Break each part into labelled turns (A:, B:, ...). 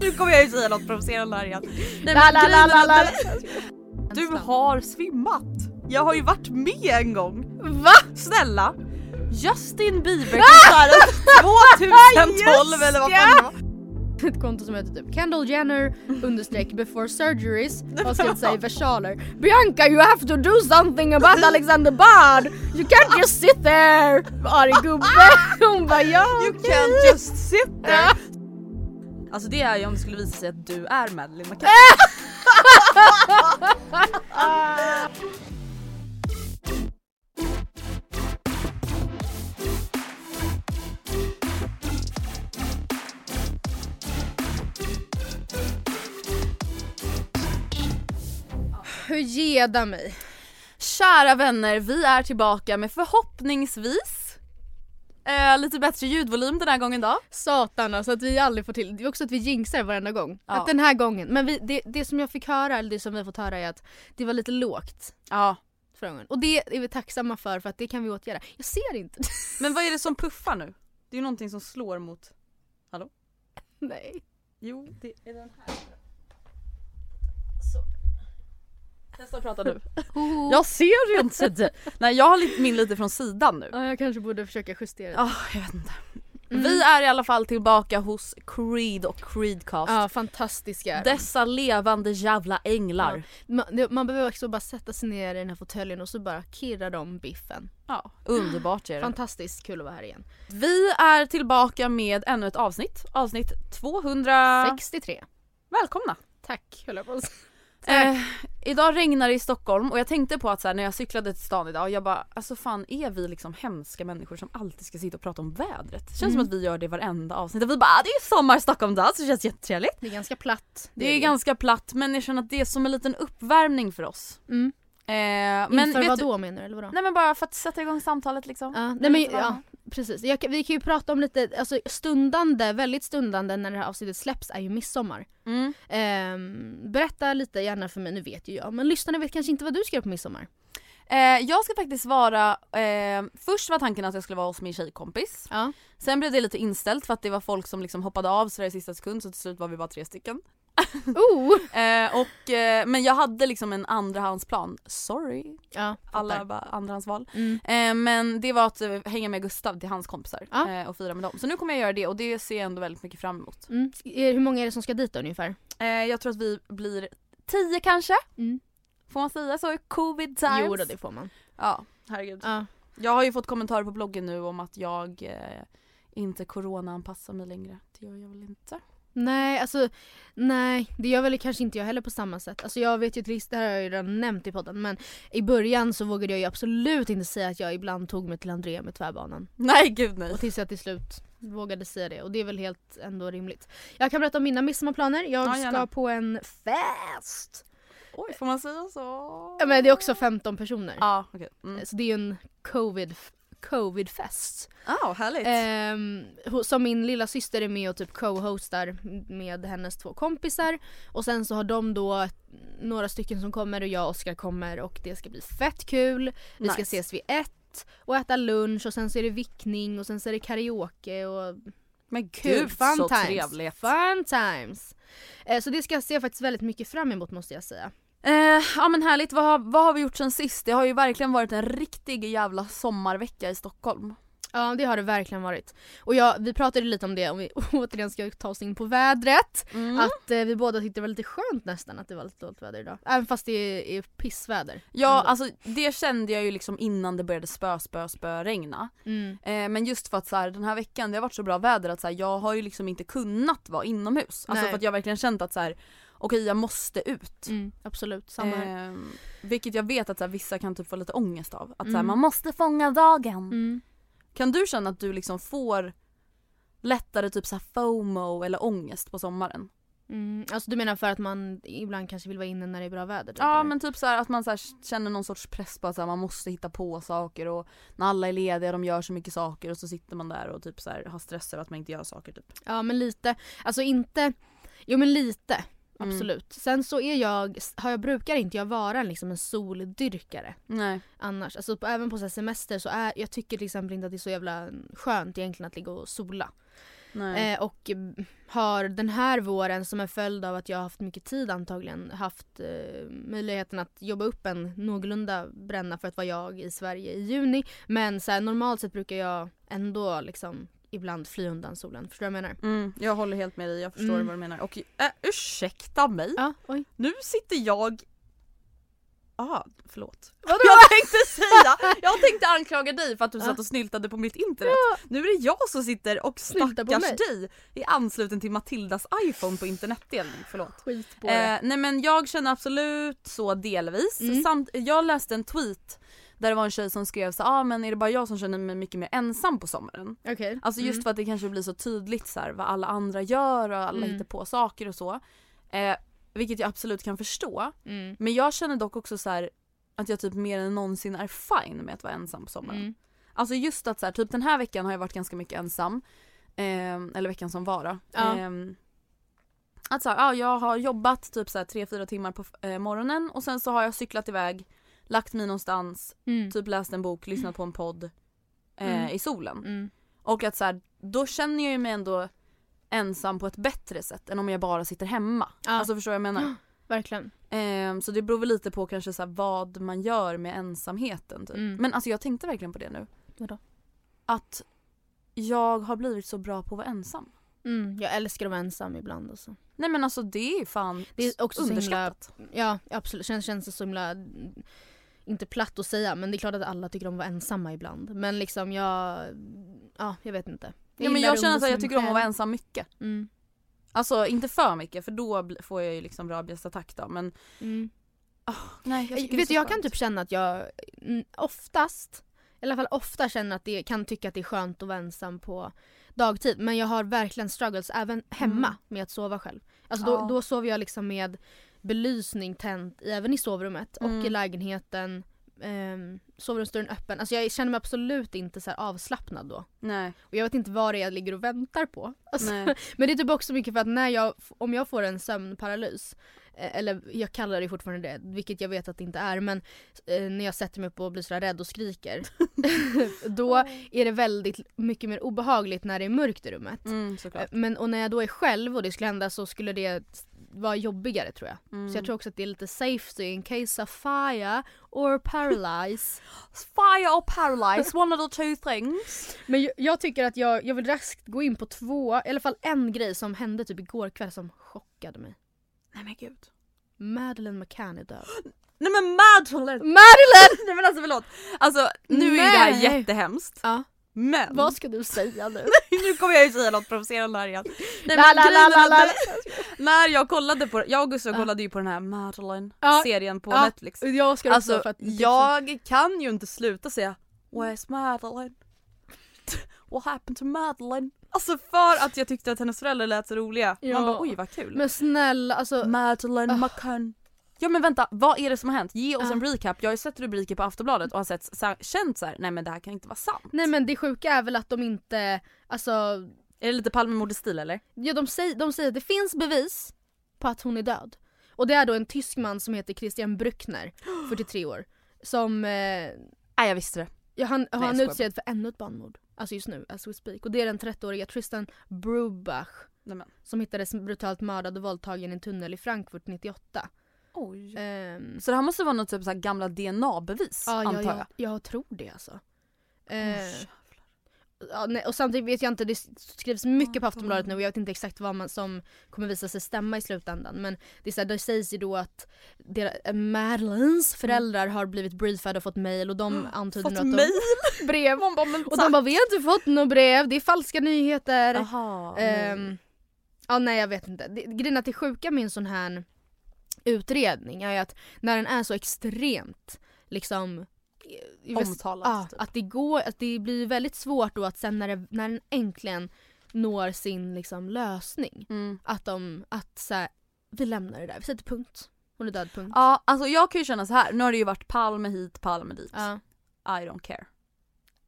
A: Nu kommer jag ju säga något provocerande här igen. Nej, men
B: La, la, la, la, la.
A: Du har svimmat! Jag har ju varit med en gång.
B: Va?
A: Snälla! Ah! Justin Bieber-konserten 2012 eller vad fan det var.
B: Ett konto som heter typ Kendall Jenner understreck before surgeries har skrivit sig versaler. Bianca you have to do something about Alexander Bard! You can't just sit there! Arg gubbe! Hon bara ja
A: You
B: okej."
A: can't just sit there!
B: Ja.
A: Alltså det är ju om det skulle visa sig att du är Madeleine McCann.
B: Hur geda mig?
C: Kära vänner, vi är tillbaka med förhoppningsvis eh, lite bättre ljudvolym den här gången då.
B: Satan alltså att vi aldrig får till det. är också att vi jinxar varenda gång.
C: Ja.
B: Att den här gången. Men vi, det, det som jag fick höra, eller det som vi har fått höra är att det var lite lågt
C: Ja.
B: förra gången. Och det är vi tacksamma för för att det kan vi åtgärda. Jag ser inte.
A: Men vad är det som puffar nu? Det är ju någonting som slår mot...
B: Nej.
A: Jo, det är den här.
C: Testa att prata nu. Jag ser ju inte. Nej jag har lite- min lite från sidan nu.
B: Ja, jag kanske borde försöka justera det.
C: Ja, jag vet inte. Vi är i alla fall tillbaka hos Creed och Creedcast.
B: Ja, fantastiska.
C: Dessa levande jävla änglar.
B: Man, det- man behöver också bara sätta sig ner i den här fåtöljen och så bara kirrar de biffen.
C: Ja. Underbart
B: Eh.
C: är det.
B: Fantastiskt kul att vara här igen.
C: Vi är tillbaka med ännu ett avsnitt. Avsnitt 200.
B: 63.
C: Välkomna.
B: Tack höll jag på att säga.
C: Eh, idag regnar det i Stockholm och jag tänkte på att så här, när jag cyklade till stan idag, jag bara alltså fan är vi liksom hemska människor som alltid ska sitta och prata om vädret? Det känns som att vi gör det i varenda avsnitt. Vi bara ah, det är sommar i Stockholm idag så det känns jättetrevligt.
B: Det är ganska platt.
C: Det är ganska platt men jag känner att det är som en liten uppvärmning för oss.
B: Mm.
C: Eh, men
B: Men Inför
C: vet
B: vad
C: du-
B: då menar du? Eller vadå?
C: Nej men bara för att sätta igång samtalet liksom.
B: Ja, nej men, ja, precis. Jag, kan- vi kan ju prata om lite, alltså stundande, väldigt stundande när det här avsnittet släpps är ju midsommar.
C: Mm.
B: Ehm, berätta lite gärna för mig, nu vet ju jag, men lyssnarna vet kanske inte vad du ska göra på midsommar.
C: Eh, jag ska faktiskt vara, eh, först var tanken att jag skulle vara hos min tjejkompis.
B: Ja.
C: Sen blev det lite inställt för att det var folk som liksom hoppade av sådär i sista sekund så till slut var vi bara tre stycken.
B: Oh!
C: Eh, och, eh, men jag hade liksom en andrahandsplan. Sorry,
B: Ja,
C: alla
B: alla...
C: bara andrahandsval.
B: Mm.
C: Eh, men det var att eh, hänga med Gustav till hans kompisar
B: Ja.
C: eh, och fira med dem. Så nu kommer jag göra det och det ser jag ändå väldigt mycket fram emot.
B: Mm. Eh, Hur många är det som ska dit då ungefär?
C: Eh, jag tror att vi blir tio kanske.
B: Mm.
C: Får man säga så i covid times?
B: Jo då, det får man.
C: Ja, herregud.
B: Ja.
C: Jag har ju fått kommentarer på bloggen nu om att jag eh, inte coronaanpassar mig längre. Det gör jag väl inte.
B: Nej, alltså nej, det gör väl kanske inte jag heller på samma sätt. Alltså jag vet ju till det här har jag ju redan nämnt i podden, men i början så vågade jag ju absolut inte säga att jag ibland tog mig till Andrea med tvärbanan.
C: Nej gud nej.
B: Och tills jag till slut vågade säga det och det är väl helt ändå rimligt. Jag kan berätta om mina midsommarplaner. Jag
C: Ja, gärna.
B: ska på en fest!
C: Oj, får man säga så?
B: Ja, men det är också 15 personer.
C: Ja, okej. Mm.
B: Så det är ju en covid, Covidfest.
A: Ah, härligt.
C: Eh,
B: Ehm, ho- som min lilla syster är med och typ co-hostar med hennes två kompisar. Och sen så har de då några stycken som kommer och jag och Oskar kommer och det ska bli fett kul. Vi ska
C: Nice.
B: ses vid ett och äta lunch och sen så är det vickning och sen så är det karaoke och
C: Men gud,
B: Gud, fun
C: så
B: times.
C: trevligt.
B: Fun times! Eh, så det ska jag se faktiskt väldigt mycket fram emot måste jag säga.
C: Eh, ja men härligt, vad har, vad har vi gjort sen sist? Det har ju verkligen varit en riktig jävla sommarvecka i Stockholm.
B: Ja det har det verkligen varit. Och jag, vi pratade lite om det om vi återigen ska ta oss in på vädret.
C: Mm.
B: Att eh, vi båda tyckte det var lite skönt nästan att det var lite dåligt väder idag. Även fast det är, är pissväder. Mm.
C: Ja alltså det kände jag ju liksom innan det började spö spö spö regna.
B: Mm.
C: Eh, men just för att så här, den här veckan det har varit så bra väder att så här, jag har ju liksom inte kunnat vara inomhus. Alltså
B: Nej.
C: för att jag verkligen känt att så här, okej jag måste ut.
B: Mm, absolut, samma här.
C: Eh, vilket jag vet att så här, vissa kan typ få lite ångest av. Att så här,
B: Mm.
C: man måste fånga dagen.
B: Mm.
C: Kan du känna att du liksom får lättare typ så här FOMO eller ångest på sommaren?
B: Mm. Alltså du menar för att man ibland kanske vill vara inne när det är bra väder? typ,
C: Ja
B: eller?
C: men typ så här att man så här känner någon sorts press på att så här man måste hitta på saker och när alla är lediga de gör så mycket saker och så sitter man där och typ så här har stress över att man inte gör saker typ.
B: Ja men lite, alltså inte, jo men lite.
C: Mm.
B: Absolut. Sen så är jag, har jag brukar inte jag vara liksom en soldyrkare
C: Nej.
B: annars. Alltså på, även på så här semester så är, jag tycker till exempel inte att det är så jävla skönt egentligen att ligga och sola.
C: Nej.
B: Eh, och mm, har den här våren som en följd av att jag har haft mycket tid antagligen haft eh, möjligheten att jobba upp en någorlunda bränna för att vara jag i Sverige i juni. Men så här, normalt sett brukar jag ändå liksom ibland fly undan solen. Förstår du vad jag menar?
C: Mm, jag håller helt med dig, jag förstår
B: Eh, Mm.
C: vad du menar. Och äh, ursäkta mig,
B: Ja, oj.
C: nu sitter jag... Ah, förlåt. Vad jag tänkte säga! Jag tänkte anklaga dig för att du satt och snyltade på mitt internet. Nu är det jag som sitter och
B: Snyltar på
C: stackars dig i ansluten till Matildas iPhone på internetdelning, förlåt.
B: Skit på det.
C: Eh, nej men jag känner absolut så delvis.
B: Mm.
C: Samt, jag läste en tweet där det var en tjej som skrev så ah, men är det bara jag som känner mig mycket mer ensam på sommaren?
B: Okej.
C: Alltså
B: Mm.
C: just för att det kanske blir så tydligt så här, vad alla andra gör och
B: Mm.
C: alla hittar på saker och så. Eh, vilket jag absolut kan förstå.
B: Mm.
C: Men jag känner dock också så här att jag typ mer än någonsin är fine med att vara ensam på sommaren.
B: Mm.
C: Alltså just att så här, typ den här veckan har jag varit ganska mycket ensam. Ehm, eller veckan som var då.
B: Ja.
C: Ehm, att så här, ja, jag har jobbat typ så här 3-4 timmar på eh, morgonen och sen så har jag cyklat iväg, lagt mig någonstans,
B: Mm.
C: typ läst en bok, lyssnat på en podd eh,
B: Mm.
C: i solen.
B: Mm.
C: Och att så här, då känner jag ju mig ändå ensam på ett bättre sätt än om jag bara sitter hemma.
B: Ja.
C: Alltså förstår jag vad jag menar?
B: Verkligen.
C: Ehm, så det beror väl lite på kanske så här, vad man gör med ensamheten. Typ.
B: Mm.
C: Men alltså jag tänkte verkligen på det nu.
B: Vadå?
C: Att jag har blivit så bra på att vara ensam.
B: Mm, jag älskar att vara ensam ibland alltså.
C: Nej men alltså det är fan
B: Det är också så himla-
C: underskattat.
B: Ja absolut, känns, känns det så himla, mm, inte platt att säga men det är klart att alla tycker om att vara ensamma ibland. Men liksom jag, ja jag vet inte.
C: Ja, men
B: gillar
C: jag känner att
B: umgås
C: jag
B: med
C: tycker om
B: mig
C: att vara
B: själv.
C: ensam mycket.
B: Mm.
C: Alltså inte för mycket för då bl- får jag ju liksom rabiestattack då men
B: Mm.
C: nej
B: Jag,
C: tycker det är
B: vet
C: så
B: du, jag kan
C: skönt.
B: typ känna att jag mm, oftast, i alla fall ofta känner att det kan tycka att det är skönt att vara ensam på dagtid. Men jag har verkligen struggles även hemma med att sova själv. Alltså då,
C: Mm. Ja.
B: då sover jag liksom med belysning tänt i- även i sovrummet och i
C: Mm.
B: lägenheten. Um, sovrumsdörren öppen. Alltså jag känner mig absolut inte så här avslappnad då.
C: Nej,
B: Och jag vet inte vad det är jag ligger och väntar på. Alltså,
C: nej.
B: men det är typ också mycket för att när jag, om jag får en sömnparalys, eh, eller jag kallar det fortfarande det, vilket jag vet att det inte är, men eh, när jag sätter mig upp och blir sådär rädd och skriker, då är det väldigt mycket mer obehagligt när det är mörkt i rummet.
C: Mm, såklart.
B: Eh, Men, och när jag då är själv och det skulle hända så skulle det vara jobbigare tror jag.
C: Mm.
B: Så jag tror också att det är lite safety in case of fire or paralyze.
C: Fire or paralyze, one of the two things.
B: Men jag, jag tycker att jag, jag vill raskt gå in på två, i alla fall en grej som hände typ igår kväll som chockade mig.
C: Nej men gud.
B: Madeleine McCann är död.
C: Nej men Madeleine!
B: Madeleine!
C: Nej men alltså förlåt. Alltså nu är ju det här
B: Nej.
C: jättehemskt.
B: Ja.
C: Men
B: Vad ska du säga nu?
C: nu kommer jag ju säga något provocerande här igen. Nej, men
B: La, la,
C: grejen
B: la,
C: är
B: la,
C: att
B: la.
C: det- När jag kollade på, jag och Gustav kollade ju på den här
B: Ja.
C: Madeleine-serien på
B: Ja.
C: Netflix.
B: Jag ska
C: Alltså
B: också för att
C: jag kan ju inte sluta säga Where's Madeleine? What happened to Madeleine? Alltså för att jag tyckte att hennes föräldrar lät så roliga.
B: Ja.
C: Man bara oj vad kul.
B: Men snälla alltså.
C: Madeleine
B: Ah.
C: McCann. Uh, Ja men vänta, vad är det som har hänt? Ge
B: Uh.
C: oss
A: Ja.
C: en recap. Jag har ju sett rubriker på Aftonbladet och har sett, så här, känt så här, nej men det här kan inte vara sant.
B: Nej men det sjuka är väl att de inte, alltså
C: Är det lite Palmemordestil eller?
B: Ja, de, säger, de säger att det finns bevis på att hon är död. Och det är då en tysk man som heter Christian Brückner, 43 år. Som, eh,
C: Nej jag visste det.
B: ja, han, har
C: jag
B: han
C: skojar
B: utsedd för ännu ett barnmord. Alltså just nu, as we speak. Och det är den 30-åriga Tristan Brubach.
C: Nej, men.
B: Som hittades brutalt mördad och våldtagen i en tunnel i Frankfurt 98.
C: Oj.
B: Ehm,
C: Så det här måste vara något typ så här gamla DNA-bevis
B: ja,
C: antar
B: ja,
C: jag.
B: jag, jag tror det alltså.
C: Åh,
B: Eh,
C: shit.
B: Ja, nej, och samtidigt vet jag inte, det skrivs mycket på Aftonbladet nu och jag vet inte exakt vad man som kommer visa sig stämma i slutändan. Men det, är så här, det sägs ju då att der- eh, Madeleines föräldrar har blivit briefade och fått mail och de antyder
C: Ah,
B: nu
C: Fått
B: att de...
C: mejl?
B: brev.
C: Man bara, men
B: Och de bara “vi har inte fått något brev, det är falska nyheter”.
C: Jaha. nej.
B: Ehm, ja nej jag vet inte. Det, grejen är att det sjuka med en sån här utredning är ju att när den är så extremt liksom eh,
C: Omtalad,
B: Ja,
C: typ.
B: att det går, att det blir väldigt svårt då att sen när, det, när den äntligen når sin liksom lösning
C: Mm.
B: att de, att så här, vi lämnar det där, vi sätter punkt. Hon är död, punkt.
C: Ja alltså jag kan ju känna så här. nu har det ju varit Palme hit, Palme dit.
B: Ja.
C: I don't care.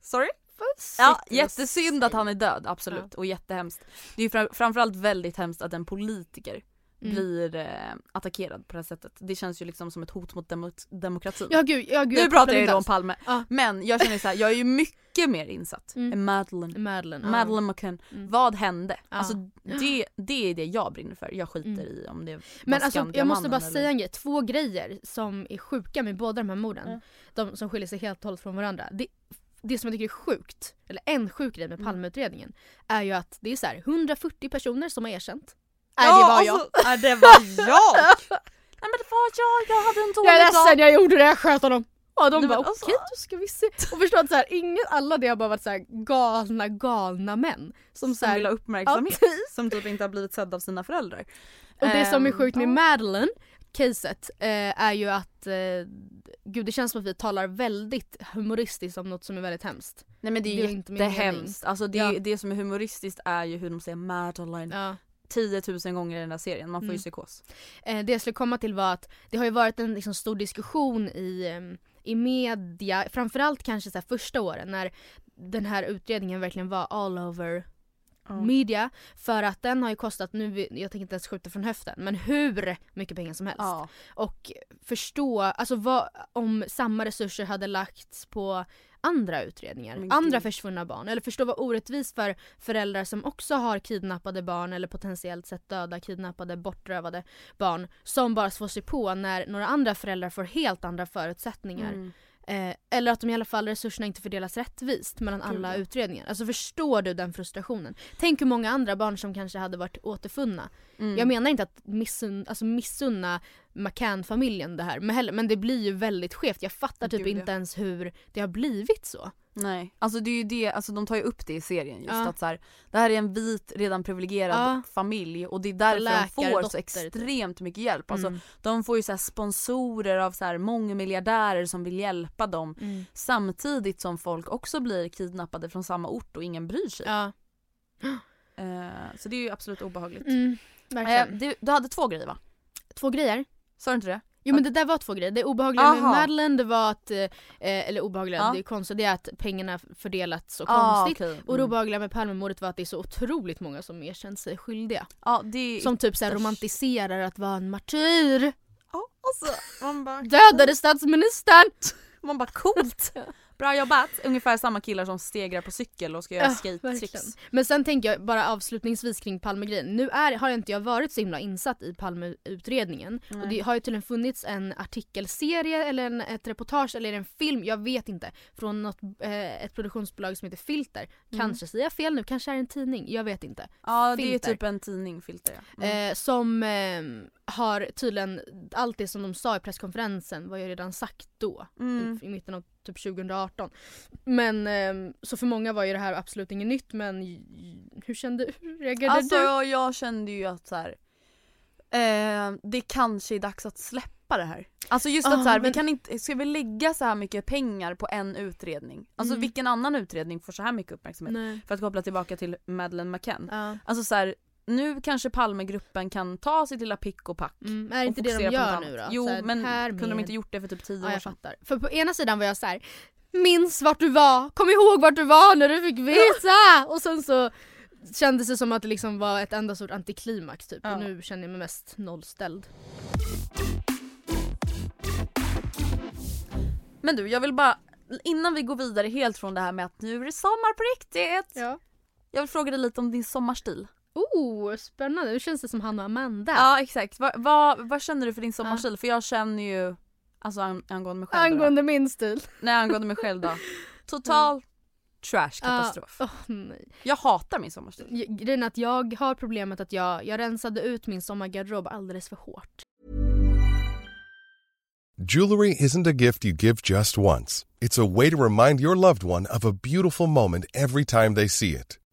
C: Sorry? Ja,
B: Sitter och
C: jättesynd att han är död, absolut. Och jättehemskt. Det är ju fra- framförallt väldigt hemskt att en politiker
B: Mm.
C: blir eh, attackerad på det här sättet. Det känns ju liksom som ett hot mot demo demokratin.
B: Ja gud, ja gud.
C: nu
B: jag
C: pratar
B: glömde
C: jag ju då om
B: alls.
C: Palme.
B: Ja.
C: Men jag känner så här, jag är ju mycket mer insatt
B: Mm.
C: än Madeleine.
B: Madeleine. ja.
C: Madeleine McCann,
B: Mm.
C: vad hände?
B: Ja.
C: Alltså det, det är det jag brinner för. Jag skiter
B: Mm.
C: i om det var
B: Men alltså jag måste
C: Skandiamannen
B: bara
C: eller-
B: säga en grej, två grejer som är sjuka med båda de här morden.
C: Mm.
B: De som skiljer sig helt och hållet från varandra. Det, det som jag tycker är sjukt, eller en sjuk grej
C: Mm.
B: med Palmeutredningen, är ju att det är så här, 140 personer som har erkänt. Nej det var jag.
C: alltså, Nej det var jag! Nej men det var jag, jag hade en dålig
B: Jag är
C: dag.
B: ledsen jag gjorde det, jag sköt honom. Och de
C: Nej,
B: bara
C: men alltså-
B: okej då ska vi se. Och förstå att så här, ingen, alla det har bara varit så här, galna galna män. Som, så
C: som
B: här,
C: vill ha uppmärksamhet.
B: Ja,
C: som typ inte har blivit sedd av sina föräldrar.
B: Och det som är sjukt med
C: Ehm,
B: Madeleine caset eh, är ju att eh, gud det känns som att vi talar väldigt humoristiskt om något som är väldigt hemskt.
C: ja. Nej men det är
B: det är
C: ju
B: inte min
C: jättehemskt. Alltså det,
B: Ja.
C: det som är humoristiskt är ju hur de säger Madeline
B: Ja.
C: 10 000 gånger i den här serien, man får ju
B: Mm.
C: psykos.
B: Eh, det jag skulle komma till var att det har ju varit en liksom, stor diskussion i, eh, i media, framförallt kanske så här, första åren när den här utredningen verkligen var all over media. För att den har ju kostat, nu, jag tänker inte ens skjuta från höften, men hur mycket pengar som helst.
C: Ja.
B: och förstå alltså vad, om samma resurser hade lagts på andra utredningar,
C: Men
B: andra
C: gud.
B: försvunna barn. Eller förstå vad orättvist för föräldrar som också har kidnappade barn eller potentiellt sett döda, kidnappade, bortrövade barn som bara får sig på när några andra föräldrar får helt andra förutsättningar.
C: Mm.
B: Eh, eller att de i alla fall resurserna inte fördelas rättvist mellan
C: Gud,
B: alla
C: ja.
B: utredningar. Alltså förstår du den frustrationen? Tänk hur många andra barn som kanske hade varit återfunna
C: Mm.
B: jag menar inte att missun, alltså missunna McCann-familjen det här men, heller, men det blir ju väldigt skevt. Jag fattar typ
C: Gud, ja.
B: inte ens hur det har blivit så.
C: Nej, alltså det är ju det, alltså de tar ju upp det i serien just
B: Ja.
C: att så här, det här är en vit redan privilegierad
B: Ja.
C: familj och det är därför
B: Läkare,
C: de får
B: dotter,
C: så
B: typ.
C: extremt mycket hjälp. Alltså,
B: Mm.
C: De får ju så här sponsorer av så här mångmiljardärer som vill hjälpa dem samtidigt som folk också blir kidnappade från samma ort och ingen bryr sig.
B: Ja,
C: Eh, så det är ju absolut obehagligt.
B: mm, verkligen.
C: Eh, du, du hade två grejer va?
B: två grejer.
C: Sa du inte det?
B: Jo men det där var två grejer. Det obehagliga med
C: Aha.
B: Madeleine det var att, eh, eller obehagliga,
C: Ja.
B: det är konstigt, det är att pengarna fördelats så konstigt.
C: okej.
B: Och det
C: Mm.
B: obehagliga med Palmemordet var att det är så otroligt många som erkänt sig skyldiga.
C: Ja, det
B: Som typ såhär
C: Ytterst.
B: romantiserar att vara en martyr.
C: Ja, alltså, man bara...
B: Dödade statsministern!
C: Man bara coolt! Bra jobbat! Ungefär samma killar som stegrar på cykel och ska göra
B: Ja, verkligen.
C: skate-tricks.
B: Men sen tänker jag bara avslutningsvis kring Palmegrejen. Nu är, har inte jag varit så himla insatt i Palmeutredningen. Och det har ju tydligen funnits en artikelserie eller en, ett reportage eller en film, jag vet inte. Från något, eh, ett produktionsbolag som heter Filter. Kanske säger jag fel nu, kanske är det en tidning, jag vet inte.
C: Mm. Ja det är
B: Filter.
C: typ en tidning filter ja. Mm.
B: Eh, som eh, har tydligen, allt det som de sa i presskonferensen var ju redan sagt då.
C: Mm.
B: I, I mitten av typ 2018. Men eh, så för många var ju det här absolut inget nytt men j- j- hur kände, hur reagerade
C: Alltså
B: du?
C: jag, jag kände ju att så här, eh, det kanske är dags att släppa det här. Alltså just
B: Ah,
C: att så här,
B: men-
C: vi kan inte, ska vi lägga så här mycket pengar på en utredning? Alltså
B: Mm.
C: vilken annan utredning får så här mycket uppmärksamhet?
B: Nej.
C: För att koppla tillbaka till Madeleine McCann.
B: Ja.
C: Alltså så här, nu kanske Palmegruppen kan ta sitt lilla pick och pack.
B: Mm, är det
C: och
B: inte det de
C: fokusera på
B: gör
C: något
B: nu då?
C: annat. Jo
B: Så här,
C: men
B: här
C: kunde de
B: med-
C: inte gjort det för typ tio
B: Ja,
C: år
B: jag
C: sedan?
B: fattar. För på ena sidan var jag så här: minns vart du var, kom ihåg vart du var när du fick veta! Och sen så kändes det som att det liksom var ett enda stort antiklimax typ.
C: Ja.
B: Och nu känner jag mig mest nollställd.
C: Men du jag vill bara, innan vi går vidare helt från det här med att nu är det sommar på riktigt.
B: Ja.
C: Jag vill fråga dig lite om din sommarstil.
B: Oh, spännande. Nu känns det som han och Amanda.
C: Ja exakt, vad vad- vad känner du för din sommarstil? För jag känner ju, alltså an, angående mig själv då då.
B: Angående min stil.
C: Nej angående mig själv då. Total trash katastrof.
B: Ja. Åh, nej.
C: Jag hatar min sommarstil.
B: G- Grejen är att jag har problemet att jag, jag rensade ut min sommargarderob alldeles för hårt.
D: Jewelry isn't a gift you give just once. It's a way to remind your loved one of a beautiful moment every time they see it.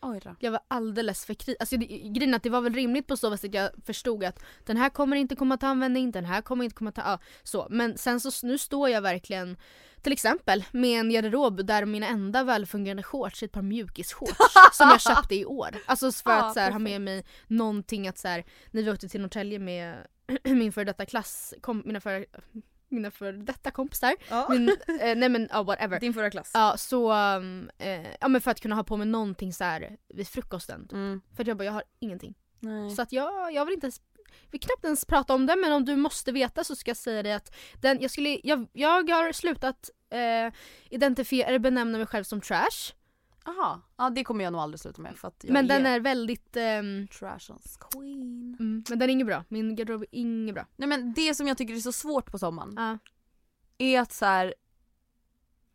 C: Oj då.
B: Jag var alldeles för kritisk. Alltså, det- grejen är att det var väl rimligt på så vis att jag förstod att den här kommer inte komma till användning, den här kommer inte komma till... Ja, så. Men sen så nu står jag verkligen till exempel med en garderob där mina enda välfungerande shorts är ett par mjukisshorts som jag köpte i år. Alltså för
C: Ja,
B: att så här, ha
C: perfekt.
B: med mig någonting att så här, när vi åkte till Norrtälje med min före detta klass, kom, mina före mina för detta kompisar. Min, eh, nej men ja whatever.
C: Din förra klass.
B: Ja, så, um, eh, ja men för att kunna ha på mig någonting så här vid frukosten.
C: Mm.
B: För att jag bara, jag har ingenting.
C: Nej.
B: Så att jag, jag vill inte ens, vi knappt ens prata om det men om du måste veta så ska jag säga dig att den, jag, skulle, jag, jag har slutat eh, identifiera eller benämna mig själv som trash.
C: Aha. Ja det kommer jag nog aldrig sluta med för att jag
B: men den
C: är
B: är väldigt, ehm,
C: trashens queen.
B: mm, men den är inget bra. Min garderob är inget bra.
C: Nej men det som jag tycker är så svårt på sommaren
B: Ja.
C: är att så här.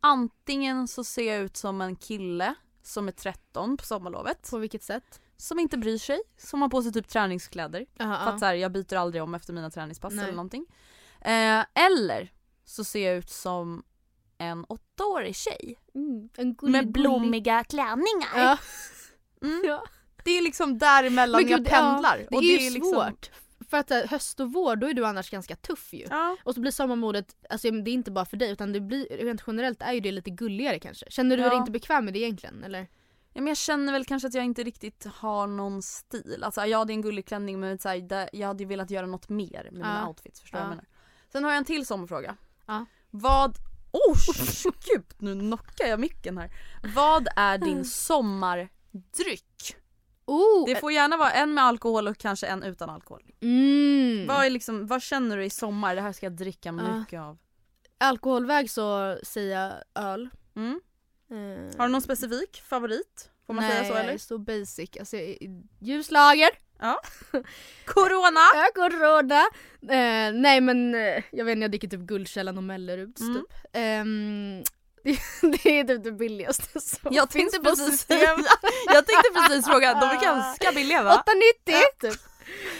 C: antingen så ser jag ut som en kille som är 13 på sommarlovet.
B: På vilket sätt?
C: Som inte bryr sig, som har på sig typ träningskläder.
B: Aha,
C: För att så här, jag byter aldrig om efter mina träningspass
B: Nej.
C: eller någonting. Eh, eller så ser jag ut som en åttaårig tjej.
B: mm, en gullig,
C: Med
B: gullig-
C: blommiga klänningar.
B: Ja.
C: Mm.
B: Ja.
C: Det är liksom däremellan
B: Men
C: jag
B: gud,
C: pendlar.
B: Ja, det
C: och
B: är ju
C: liksom-
B: svårt. För att eh, höst och vår, då är du annars ganska tuff ju.
C: Ja.
B: Och så blir sommarmodet, alltså det är inte bara för dig utan det blir, rent generellt är ju det lite gulligare kanske. Känner du
C: Ja.
B: dig inte bekväm med det egentligen eller?
C: Ja, men jag känner väl kanske att jag inte riktigt har någon stil. Alltså, ja, det är en gullig klänning men så här, det, jag hade ju velat göra något mer med mina
B: Ja.
C: outfits. Förstår du
B: Ja.
C: vad jag menar? Sen har jag en till sommarfråga.
B: Ja.
C: Vad... Oh, gud, nu knockar jag micken här. Vad är din sommardryck?
B: Oh!
C: Det får gärna vara en med alkohol och kanske en utan alkohol.
B: mm.
C: Vad, är liksom, vad känner du i sommar? Det här ska jag dricka
B: Ja.
C: mycket av.
B: Alkoholväg så säger jag öl.
C: Mm.
B: Eh,
C: Har du någon specifik favorit? Får man
B: nej,
C: säga så
B: jag är
C: eller? Ah!
B: så basic. Alltså, jag är- ljuslager,
C: Corona!
B: ögonråda. Eh, nej men eh, jag vet inte, jag dricker typ Guldkällan och Melleruds
C: Mm.
B: typ. Ehm, det, det är typ det billigaste som
C: Jag
B: finns
C: tänkte,
B: på
C: precis,
B: Systemet.
C: jag tänkte precis fråga, de är ganska billiga va?
B: 8,90 typ.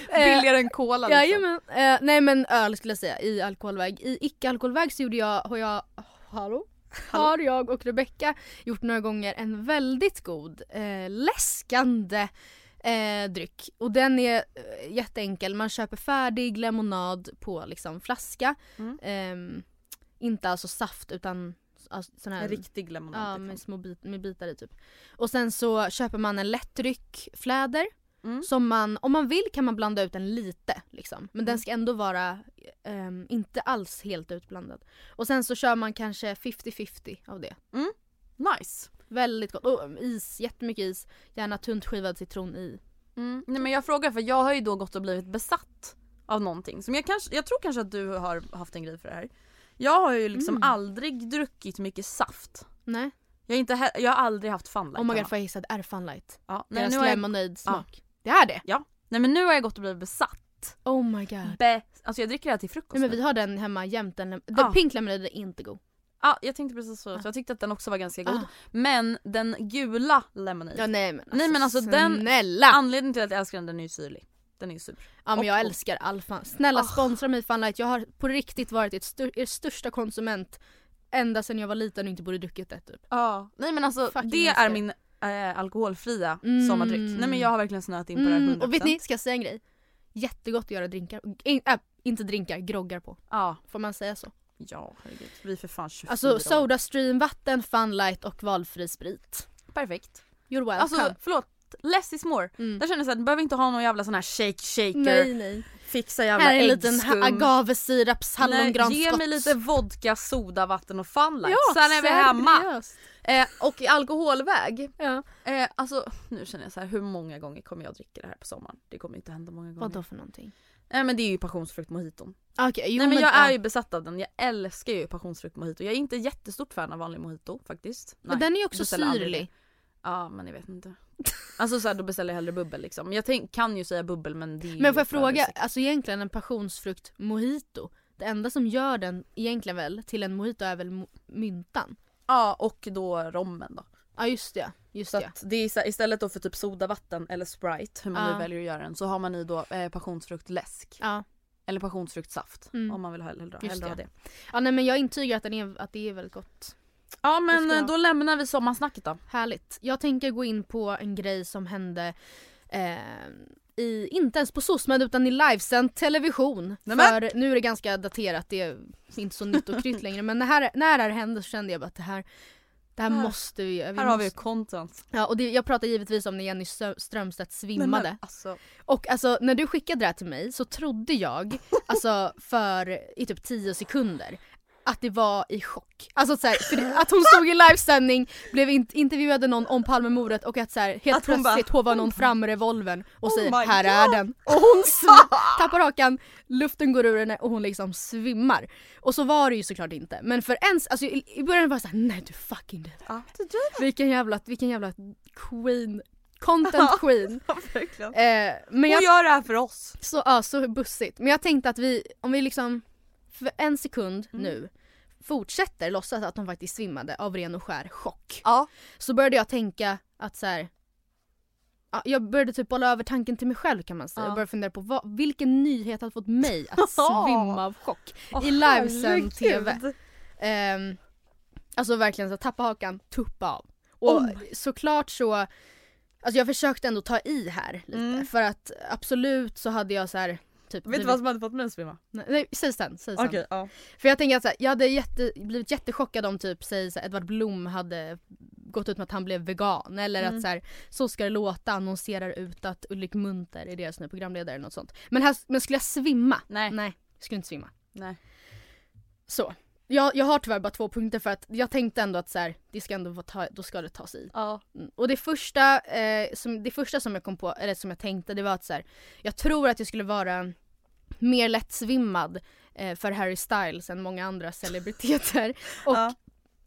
B: Eh,
C: Billigare än cola liksom.
B: Jajamän. Eh, nej men öl skulle jag säga i alkoholväg. I icke-alkoholväg så gjorde jag, har jag, hallå? Har jag och Rebecca gjort några gånger en väldigt god eh, läskande eh, dryck. Och den är eh, jätteenkel. Man köper färdig lemonad på liksom flaska.
C: Mm.
B: Ehm, inte alltså saft utan alltså, sån här
C: En riktig lemonad.
B: Ja,
C: liksom.
B: med små bit, med bitar i typ. Och sen så köper man en lättdryck, fläder.
C: Mm. Mm.
B: Som man, om man vill kan man blanda ut en lite liksom. Men den ska ändå vara ehm, inte alls helt utblandad. Och sen så kör man kanske 50-50 av det.
C: Nice.
B: Väldigt gott. Och um, is, jättemycket is. Gärna tunt skivad citron i.
C: Mm. Nej men jag frågar för jag har ju då gått och blivit besatt av någonting. Som jag, kanske, jag tror kanske att du har haft en grej för det här. Jag har ju liksom
B: Mm.
C: aldrig druckit mycket saft.
B: Nej.
C: Jag, är inte he- jag har aldrig haft funlight
B: Oh my
C: hemma.
B: god får jag gissa att det är funlight?
C: Ja, nej,
B: Deras
C: nu har jag-
B: lemonade-smak. Det är det?
C: Ja. Nej men nu har jag gått och blivit besatt.
B: Oh my god.
C: Be- alltså jag dricker det här till frukost
B: Nej men
C: nu.
B: vi har den hemma jämt. Den, den
C: Ja.
B: pink lemonade är inte god.
C: Ja, jag tänkte precis så. Jag tyckte att den också var ganska god.
B: Ah.
C: Men den gula lemonade.
B: Ja, nej men
C: nej men alltså den,
B: snälla!
C: anledningen till att jag älskar den, den är ju syrlig. Den är ju sur.
B: Ja men
C: Och
B: jag
C: god.
B: älskar all fan.
C: Ah.
B: Snälla sponsra mig Funlight. Jag har på riktigt varit ett stu- er största konsument ända sedan jag var liten och inte borde druckit det typ.
C: Ja, nej men alltså
B: Fucking
C: det
B: älskar
C: är
B: det.
C: min äh, alkoholfria
B: Mm.
C: sommardryck. Nej men jag har verkligen snöat in på det här 100%.
B: och vet ni, ska jag säga en grej? Jättegott att göra drinkar, in, äh, inte drinkar, groggar på.
C: Ja.
B: Får man säga så?
C: Ja herregud, vi är för fan 24
B: Alltså
C: år.
B: Sodastream, vatten, Funlight och valfri sprit.
C: Perfekt.
B: You're welcome.
C: Alltså förlåt, less is more. Där känner jag såhär, du behöver inte ha någon jävla sån här shake shaker.
B: Mm. nej nej.
C: Fixa jävla
B: Här är en
C: äggskum.
B: liten ha- agavesiraps
C: Nej,
B: hallongranskott.
C: Ge mig lite vodka, soda, vatten och funlight.
B: Ja,
C: Sen är vi hemma.
B: seriöst.
C: Eh, och i alkoholväg.
B: Ja.
C: Eh, alltså nu känner jag så här, hur många gånger kommer jag dricka det här på sommaren? Det kommer inte hända många gånger.
B: Vadå för någonting?
C: Nej men det är ju passionsfrukt mojiton.
B: Okej, okay,
C: Nej men jag är ju besatt av den, jag älskar ju passionsfrukt mojito. Jag är inte jättestort fan av vanlig mojito faktiskt.
B: Men den är ju också
C: beställer aldrig
B: syrlig.
C: det. Ja men jag vet inte. Alltså så här, då beställer jag hellre bubbel liksom. Jag tänk, kan ju säga bubbel men det är ju
B: Men får jag
C: för
B: fråga,
C: risigt.
B: alltså egentligen en passionsfrukt mojito, det enda som gör den egentligen väl till en mojito är väl mo- myntan?
C: Ja och då rommen då.
B: Ja just det, just
C: Så
B: det.
C: att det är så här, istället då för typ sodavatten eller Sprite, hur man
B: Ja.
C: nu väljer att göra den, så har man i då eh, passionsfruktläsk.
B: Ja.
C: Eller passionsfruktsaft
B: Mm.
C: om man vill ha hellre,
B: Just
C: hellre ha
B: det.
C: det.
B: Ja nej men jag intygar att, den är, att det är väldigt gott.
C: Ja
B: Det
C: men
B: ska jag
C: eh, då lämnar vi sommarsnacket då.
B: Härligt. Jag tänker gå in på en grej som hände eh, i, inte ens på SOSMED utan i livesänd television.
C: Nämen!
B: För nu är det ganska daterat, det är inte så nytt och krytt längre men när, här, när det här hände så kände jag bara att det här, det här
C: Här-
B: måste vi, vi
C: Ah. Här har vi ju
B: måste-
C: content.
B: Ja och det, jag pratar givetvis om när Jenny Strö- Strömstedt svimmade.
C: Nej, men, alltså,
B: Och alltså när du skickade det här till mig så trodde jag, alltså för i typ 10 sekunder, att det var i chock. Alltså att så här, för det, att hon stod i livesändning, blev in, intervjuade någon om Palmemordet och att så här, helt
C: Att hon bara-
B: plötsligt hovar någon fram revolvern och
C: Oh
B: säger
C: my
B: “här
C: God."
B: är den” och hon sv- tappar hakan, luften går ur henne och hon liksom svimmar. Och så var det ju såklart inte. Men för ens, alltså i, i början var det såhär “nej du fucking dödade
C: ja.
B: vilken jävla, vilken jävla queen, content queen.
C: Verkligen.
B: Eh, men jag,
C: Hon gör det här för oss.
B: så, ja, så bussigt. Men jag tänkte att vi, om vi liksom för en sekund
C: Mm.
B: nu fortsätter låtsas att de faktiskt svimmade av ren och skär chock.
C: Ja.
B: Så började jag tänka att så här. ja, Jag började typ bolla över tanken till mig själv kan man säga
C: Ja.
B: och började fundera på vad, vilken nyhet hade fått mig att svimma av chock i livesänd TV. Ehm, alltså verkligen så här, tappa hakan, tuppa av. Och
C: Oh
B: såklart så, alltså jag försökte ändå ta i här lite
C: Mm.
B: för att absolut så hade jag så här typ
C: Vet du vad som hade fått mig att svimma?
B: Nej, nej säg sen, säg sen.
C: Okej, ja.
B: För jag tänker att så här, jag hade jätte, blivit jättechockad om typ säg så här, Edvard Blom hade gått ut med att han blev vegan eller
C: Mm.
B: att så här, så ska det låta annonserar ut att Ulrik Munter är deras nya programledare eller något sånt. Men, här, men skulle jag svimma?
C: Nej.
B: Nej, jag skulle inte svimma.
C: Nej.
B: Så. Jag, jag har tyvärr bara två punkter för att jag tänkte ändå att så här, det ska ändå vara ta, då ska det tas i.
C: Ja.
B: Mm. Och det första, eh, som, det första som jag kom på, eller som jag tänkte det var att så här, jag tror att jag skulle vara mer lättsvimmad eh, för Harry Styles än många andra celebriteter. Och
C: Ja.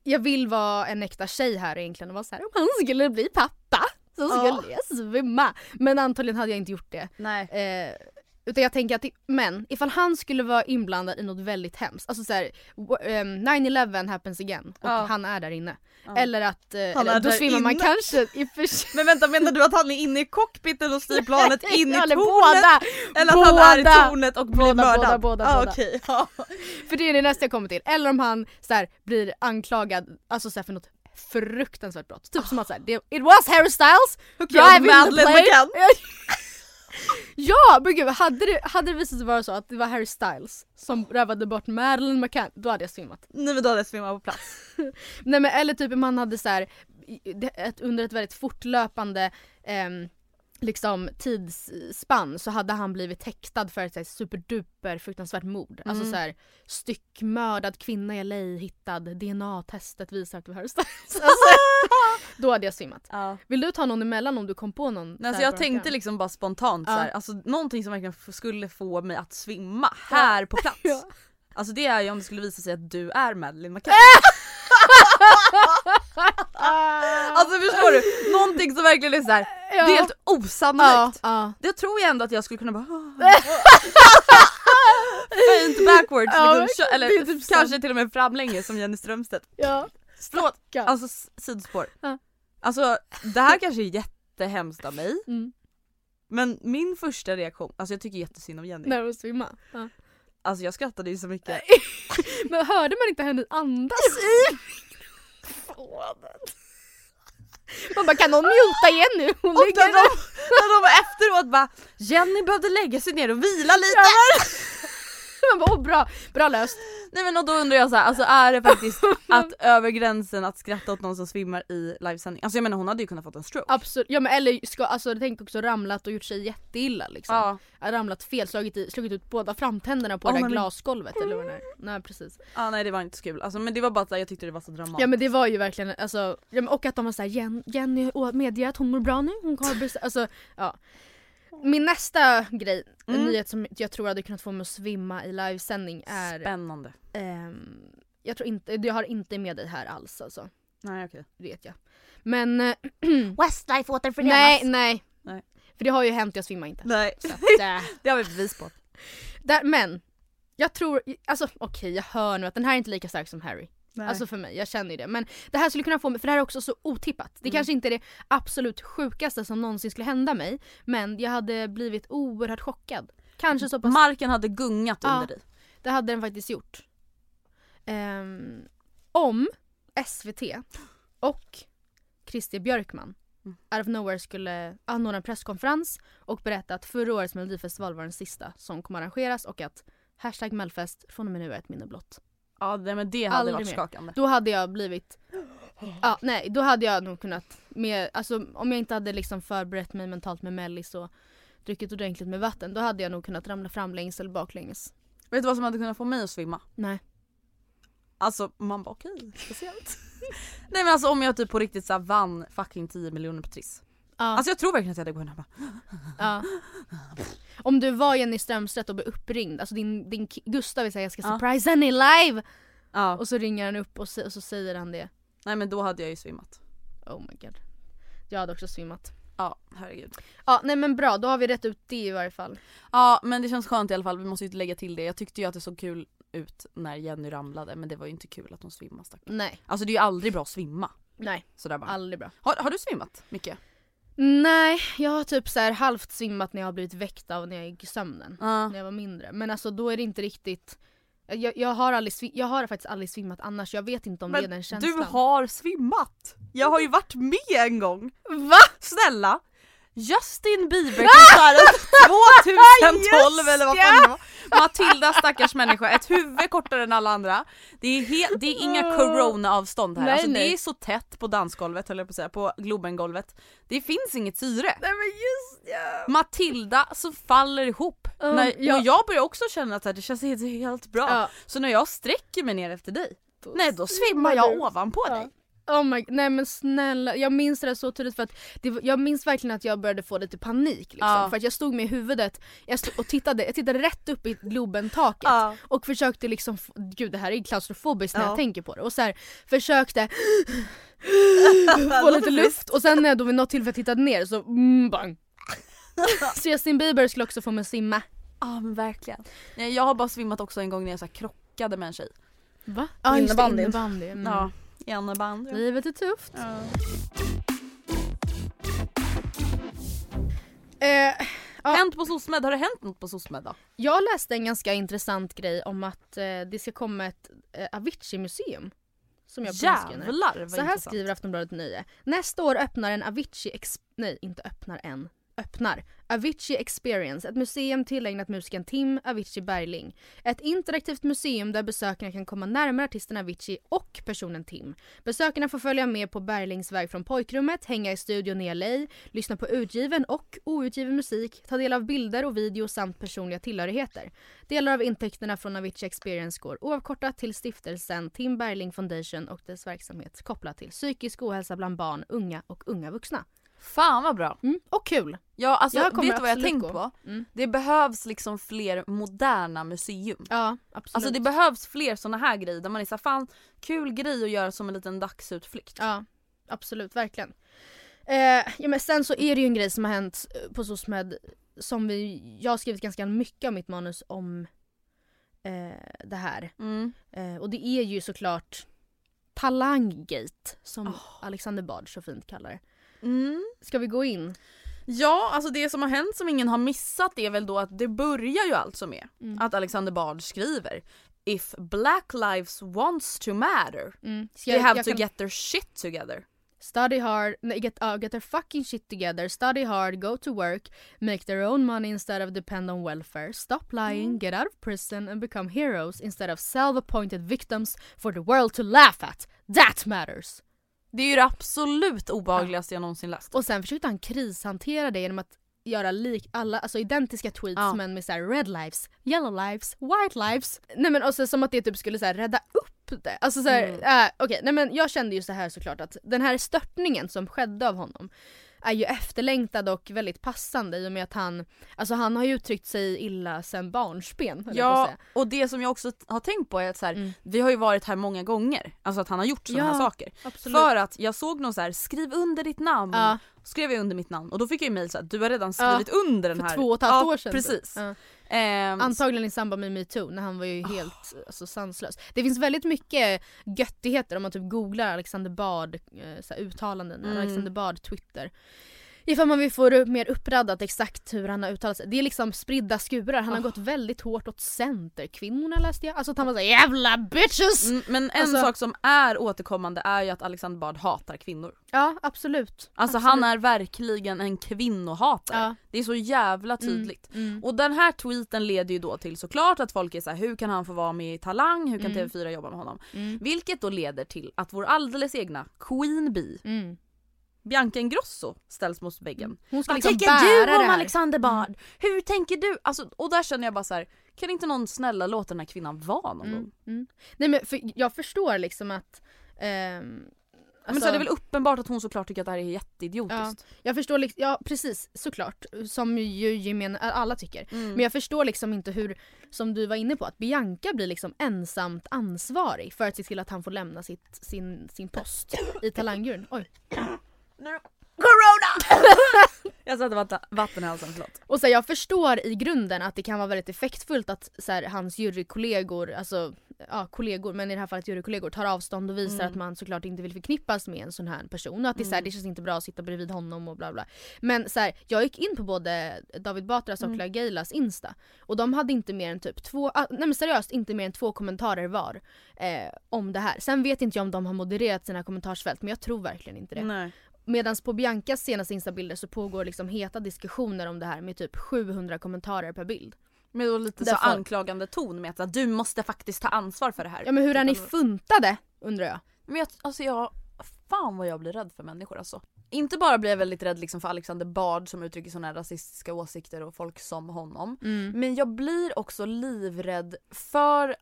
B: jag vill vara en äkta tjej här egentligen och vara så här, om han skulle bli pappa så
C: Ja.
B: skulle jag svimma. Men antagligen hade jag inte gjort det.
C: Nej.
B: Eh, utan jag tänker att, det- men ifall han skulle vara inblandad i något väldigt hemskt, alltså såhär um, 9-11 happens again och
C: Ja.
B: han är där inne.
C: Ja.
B: Eller att, eh,
C: Han
B: eller,
C: är
B: då
C: där
B: svimmar man
C: inne.
B: kanske i och för sig.
C: Men vänta menar du att han är inne i cockpiten och styr planet in i tornet?
B: Eller båda!
C: Eller att han är
B: Båda.
C: i tornet och blir
B: Båda,
C: mördad?
B: båda, båda,
C: ah,
B: båda.
C: okej, ja.
B: För det är det nästa jag kommer till. Eller om han såhär, blir anklagad alltså, såhär, för något fruktansvärt brott. Typ som att såhär, det, it was Harry Styles
C: Who killed
B: driving the
C: Madeleine
B: plane.
C: McCann.
B: ja men gud hade det, hade det visat sig vara så att det var Harry Styles som rövade bort Madeleine McCann då hade jag svimmat.
C: Nej men då hade jag svimmat på plats.
B: Nej men eller typ man hade så här i- det- ett, under ett väldigt fortlöpande ehm, liksom tidsspann så hade han blivit häktad för ett så här, superduper fruktansvärt mord. Alltså
A: Mm.
B: så här, styckmördad kvinna i LA hittad, DNA-testet visar att du har alltså, Då hade jag svimmat. Vill du ta någon emellan om du kom på någon?
C: Nej,
B: så
C: alltså
B: här
C: jag
B: på
C: tänkte
B: rakan?
C: liksom bara spontant
B: Ja.
C: så här, alltså någonting som verkligen f- skulle få mig att svimma här på plats. Alltså det är ju om det skulle visa sig att du är Madeleine McCann. alltså förstår du? Någonting som verkligen är så här,
B: Ja.
C: det är helt osannolikt.
B: Ja.
C: Det tror jag ändå att jag skulle kunna bara Fint backwards
B: Ja,
C: liksom, kö-
B: verkligen.
C: eller
B: Det är typ så.
C: kanske till och med framlänges som Jenny Strömstedt.
B: Ja.
C: Förlåt, alltså s- sidospår. Alltså det här kanske är jättehemskt av mig.
B: Mm.
C: Men min första reaktion, alltså jag tycker jättesynd om Jenny.
B: När hon svimmade. Ja.
C: Alltså jag skrattade ju så mycket.
B: Men hörde man inte henne andas i mikrofonen? Man bara kan någon muta igen nu? Hon
C: Och
B: ligger
C: när
B: där.
C: de, när de efteråt bara Jenny behövde lägga sig ner och vila lite.
B: Man bara, åh, bra, bra löst.
C: Nej men och då undrar jag så här, alltså är det faktiskt att över gränsen att skratta åt någon som svimmar i livesändning? Alltså jag menar hon hade ju kunnat fått en stroke.
B: Absolut, ja men eller ska, alltså tänk också ramlat och gjort sig jätteilla liksom.
C: Ja.
B: Ramlat fel, slagit, i, slagit ut båda framtänderna på
C: Åh,
B: det där
C: men-
B: glasgolvet eller vad det är. Nej precis.
C: Ja nej det var inte så kul, alltså, men det var bara att jag tyckte det var så dramatiskt.
B: Ja men det var ju verkligen, alltså, ja, men, och att de var såhär Jen, Jenny å- medger att hon mår bra nu, hon har bes-" alltså ja. Min nästa grej, en
C: Mm.
B: nyhet som jag tror hade kunnat få mig att svimma i livesändning är
C: Spännande.
B: ehm, Jag tror inte, jag har inte med dig här alls alltså.
C: Nej okej.
B: Vet jag. Men... eh,
C: Westlife återförenas.
B: nej, nej
C: Nej.
B: För det har ju hänt, jag svimmar inte.
C: Nej.
B: Så att, eh,
C: Det har vi bevis på.
B: där, men, jag tror, alltså okej jag hör nu att den här är inte lika stark som Harry.
C: Nej.
B: Alltså för mig, jag känner ju det. Men det här skulle kunna få mig, för det här är också så otippat. Det
C: Mm.
B: kanske inte är det absolut sjukaste som någonsin skulle hända mig. Men jag hade blivit oerhört chockad.
C: Mm.
B: Kanske så pass...
C: Marken hade gungat
B: Ja.
C: under dig.
B: det hade den faktiskt gjort. Ehm, om SVT och Christer Björkman out of nowhere skulle anordna en presskonferens och berätta att förra årets melodifestival var den sista som kommer arrangeras och att hashtag mellfest från och med nu är ett minne blott.
C: Ja nej, men det hade
B: Aldrig
C: varit
B: mer.
C: skakande.
B: Då hade jag blivit... Ja, nej, då hade jag nog kunnat... Med, alltså, om jag inte hade liksom förberett mig mentalt med mellis och druckit ordentligt med vatten då hade jag nog kunnat ramla framlänges eller baklänges.
C: Vet du vad som hade kunnat få mig att svimma?
B: Nej.
C: Alltså man bara okej, speciellt. nej men alltså om jag typ på riktigt så här, vann fucking 10 miljoner på Triss.
B: Ja.
C: Alltså jag tror verkligen att jag hade gått hem och bara
B: Ja. Om du var Jenny Strömstedt och blev uppringd, alltså din, din ki- Gustav vill säga jag ska
C: Ja.
B: surprise henne live!
C: Ja.
B: Och så ringer han upp och, se, och så säger han det.
C: nej men då hade jag ju svimmat.
B: Oh my god. Jag hade också svimmat.
C: Ja herregud.
B: Ja nej men bra, då har vi rätt ut det i varje fall.
C: Ja men det känns skönt i alla fall, vi måste ju lägga till det. Jag tyckte ju att det såg kul ut när Jenny ramlade men det var ju inte kul att hon svimmade stackarn.
B: Nej,
C: Alltså det är ju aldrig bra att svimma.
B: nej.
C: Sådär bara.
B: Aldrig bra.
C: Har, har du svimmat mycket?
B: Nej, jag har typ så här halvt svimmat när jag har blivit väckt av när jag gick i sömnen.
C: Ja.
B: När jag var mindre. Men alltså då är det inte riktigt jag, jag, har aldrig, svim- jag har faktiskt aldrig svimmat annars, jag vet inte om det är den känslan.
C: du har svimmat! Jag har ju varit med en gång!
B: Va?
C: Snälla! Justin Bieber-konserten 2012 eller vad fan det var. Matilda stackars människa, ett huvud kortare än alla andra. Det är, he- det är inga corona-avstånd här,
B: Ah. Nej,
C: alltså,
B: nej.
C: det är så tätt på dansgolvet höll jag på att säga, på Globengolvet. Det finns inget syre.
B: Nej men just ja!
C: Matilda så faller ihop.
B: Ja,
C: när,
B: ja.
C: Och jag börjar också känna att det här, det känns helt, helt bra.
B: Ja.
C: Så när jag sträcker mig ner efter dig, nej då svimmar jag ovanpå dig.
B: Oh my, nej men snälla, jag minns det där så tydligt för att det, var- jag minns verkligen att jag började få lite panik liksom,
C: Ja.
B: för att jag stod med huvudet jag stod och tittade, jag tittade rätt upp i Globentaket
C: Ja.
B: och försökte liksom, f- gud det här är klaustrofobiskt när
C: Ja.
B: jag tänker på det och så här, försökte få lite luft och sen när jag då vid något tillfälle tittade ner så mm, bang. så Justin Bieber skulle också få mig att simma.
C: Ja men verkligen. Nej, Jag har bara svimmat också en gång när jag så här krockade med en tjej.
B: Va? Ja just det,
C: Innebandyn.
B: innebandy. Mm.
C: Ja, i innebandy.
B: Livet är tufft.
C: Ja.
B: Eh, Ja.
C: Hänt på SOSMED, har det hänt något på SOSMED då?
B: Jag läste en ganska intressant grej om att eh, det ska komma ett eh, Avicii-museum. Som jag påskriver.
C: Jävlar vad
B: Så här
C: intressant.
B: skriver Aftonbladet Nöje. Nästa år öppnar en Avicii... Ex- nej, inte öppnar en. öppnar Avicii Experience, ett museum tillägnat musikern Tim Avicii Bergling. Ett interaktivt museum där besökarna kan komma närmare artisten Avicii och personen Tim. Besökarna får följa med på Berglings väg från pojkrummet, hänga i studion i LA, lyssna på utgiven och outgiven musik, ta del av bilder och video samt personliga tillhörigheter. Delar av intäkterna från Avicii Experience går oavkortat till stiftelsen Tim Bergling Foundation och dess verksamhet kopplat till psykisk ohälsa bland barn, unga och unga vuxna.
C: Fan vad bra!
B: Mm, och kul!
C: Ja alltså
B: Jag kommer
C: vet du vad jag tänkt
B: absolut gå.
C: på?
B: Mm.
C: Det behövs liksom fler moderna museum.
B: Ja absolut.
C: Alltså det behövs fler såna här grejer där man är såhär fan kul grej att göra som en liten dagsutflykt.
B: Ja, absolut, verkligen. Eh, ja, men sen så är det ju en grej som har hänt eh, på SOSMED som vi, jag har skrivit ganska mycket av mitt manus om eh, det här.
C: Mm.
B: Eh, och det är ju såklart Talanggate som Alexander Bard så fint kallar det.
C: Mm.
B: Ska vi gå in?
C: Ja, alltså det som har hänt som ingen har missat är väl då att det börjar ju alltså med
B: Mm.
C: att Alexander Bard skriver If black lives wants to matter,
B: Mm. Ska
C: they
B: jag-
C: have
B: jag
C: to
B: kan-
C: get their shit together.
B: Study hard, nej, get, uh, get their fucking shit together, study hard, go to work, make their own money instead of depend on welfare, stop lying, get out of prison and become heroes instead of self-appointed victims for the world to laugh at. That matters!
C: Det är ju det absolut obehagligaste jag någonsin läst.
B: Och sen försökte han krishantera det genom att göra lik, alla, alltså identiska tweets
C: Ja.
B: men med så här red lives, yellow lives, white lives. Nej men och sen som att det typ skulle så här rädda upp det. Alltså så här,
C: Mm.
B: äh, okej nej men jag kände ju så här såklart att den här störtningen som skedde av honom är ju efterlängtad och väldigt passande i och med att han, alltså han har ju uttryckt sig illa sen barnsben höll jag på att
C: Ja,
B: säga. Mm.
C: och det som jag också t- har tänkt på är att så här, vi har ju varit här många gånger, alltså att han har gjort sådana
B: Ja,
C: här saker.
B: absolut.
C: För att jag såg någon så här, skriv under ditt namn,
B: Ja.
C: skrev jag under mitt namn och då fick jag ju mejl så här, du har redan skrivit under den
B: För
C: här.
B: två och ett halvt
C: ja,
B: år sedan. typ.
C: Precis.
B: Ja.
C: Ehm,
B: Antagligen i samband med metoo när han var
C: Ah.
B: ju helt alltså, sanslös. Det finns väldigt mycket göttigheter om man typ googlar Alexander Bard eh, så här, uttalanden, eller
C: Mm.
B: Alexander Bard Twitter. Ifall man vill få det mer uppraddat exakt hur han har uttalat sig. Det är liksom spridda skurar. Han har
C: Ah.
B: gått väldigt hårt åt centerkvinnorna läste jag. Alltså att han var såhär jävla bitches!
C: Mm, Men en
B: Alltså-
C: sak som är återkommande är ju att Alexander Bard hatar kvinnor.
B: Ja absolut.
C: Alltså
B: absolut.
C: han är verkligen en kvinnohatare.
B: Ja.
C: Det är så jävla tydligt.
B: Mm, mm.
C: Och den här tweeten leder ju då till såklart att folk är så här: hur kan han få vara med i Talang, hur kan
B: Mm.
C: TV4 jobba med honom?
B: Mm.
C: Vilket då leder till att vår alldeles egna Queen Bee,
B: Mm.
C: Bianca Ingrosso, ställs mot väggen.
B: Hon ska
C: Vad
B: liksom
C: tänker
B: bära
C: du
B: det
C: om
B: här.
C: Alexander Bard? Hur tänker du? Alltså, och där känner jag bara så här: kan inte någon snälla låta den här kvinnan vara någon gång?
B: Mm. Nej men för jag förstår liksom att ehm,
C: Men så är det väl uppenbart att hon såklart tycker att det här är jätteidiotiskt.
B: Ja, jag förstår liksom, ja precis såklart. Som ju gemene, alla tycker. Men jag förstår liksom inte hur, som du var inne på, att Bianca blir liksom ensamt ansvarig för att se till att han får lämna sitt, sin, sin post i talangguren. Oj.
C: Corona! jag satte vatten, vatten i halsen, förlåt.
B: Och så här, jag förstår i grunden att det kan vara väldigt effektfullt att så här, hans jurykollegor, alltså ja, kollegor, men i det här fallet jurykollegor, tar avstånd och visar att man såklart inte vill förknippas med en sån här person. Och att det, är så här, det känns inte bra att sitta bredvid honom och bla bla. Men så här, jag gick in på både David Batras och La Geilas Insta och de hade inte mer än typ två, ah, nej men seriöst inte mer än två kommentarer var eh, om det här. Sen vet inte jag om de har modererat sina kommentarsfält men jag tror verkligen inte det.
C: Nej.
B: Medan på Biancas senaste instabilder så pågår liksom heta diskussioner om det här med typ 700 kommentarer per bild.
C: Med då lite
B: Därför-
C: så anklagande ton med att så här, du måste faktiskt ta ansvar för det här.
B: Ja men hur är ni funtade undrar jag.
C: Men jag, alltså jag, fan vad jag blir rädd för människor alltså. Inte bara blir jag väldigt rädd liksom för Alexander Bard som uttrycker sådana här rasistiska åsikter och folk som honom.
B: Mm.
C: Men jag blir också livrädd för,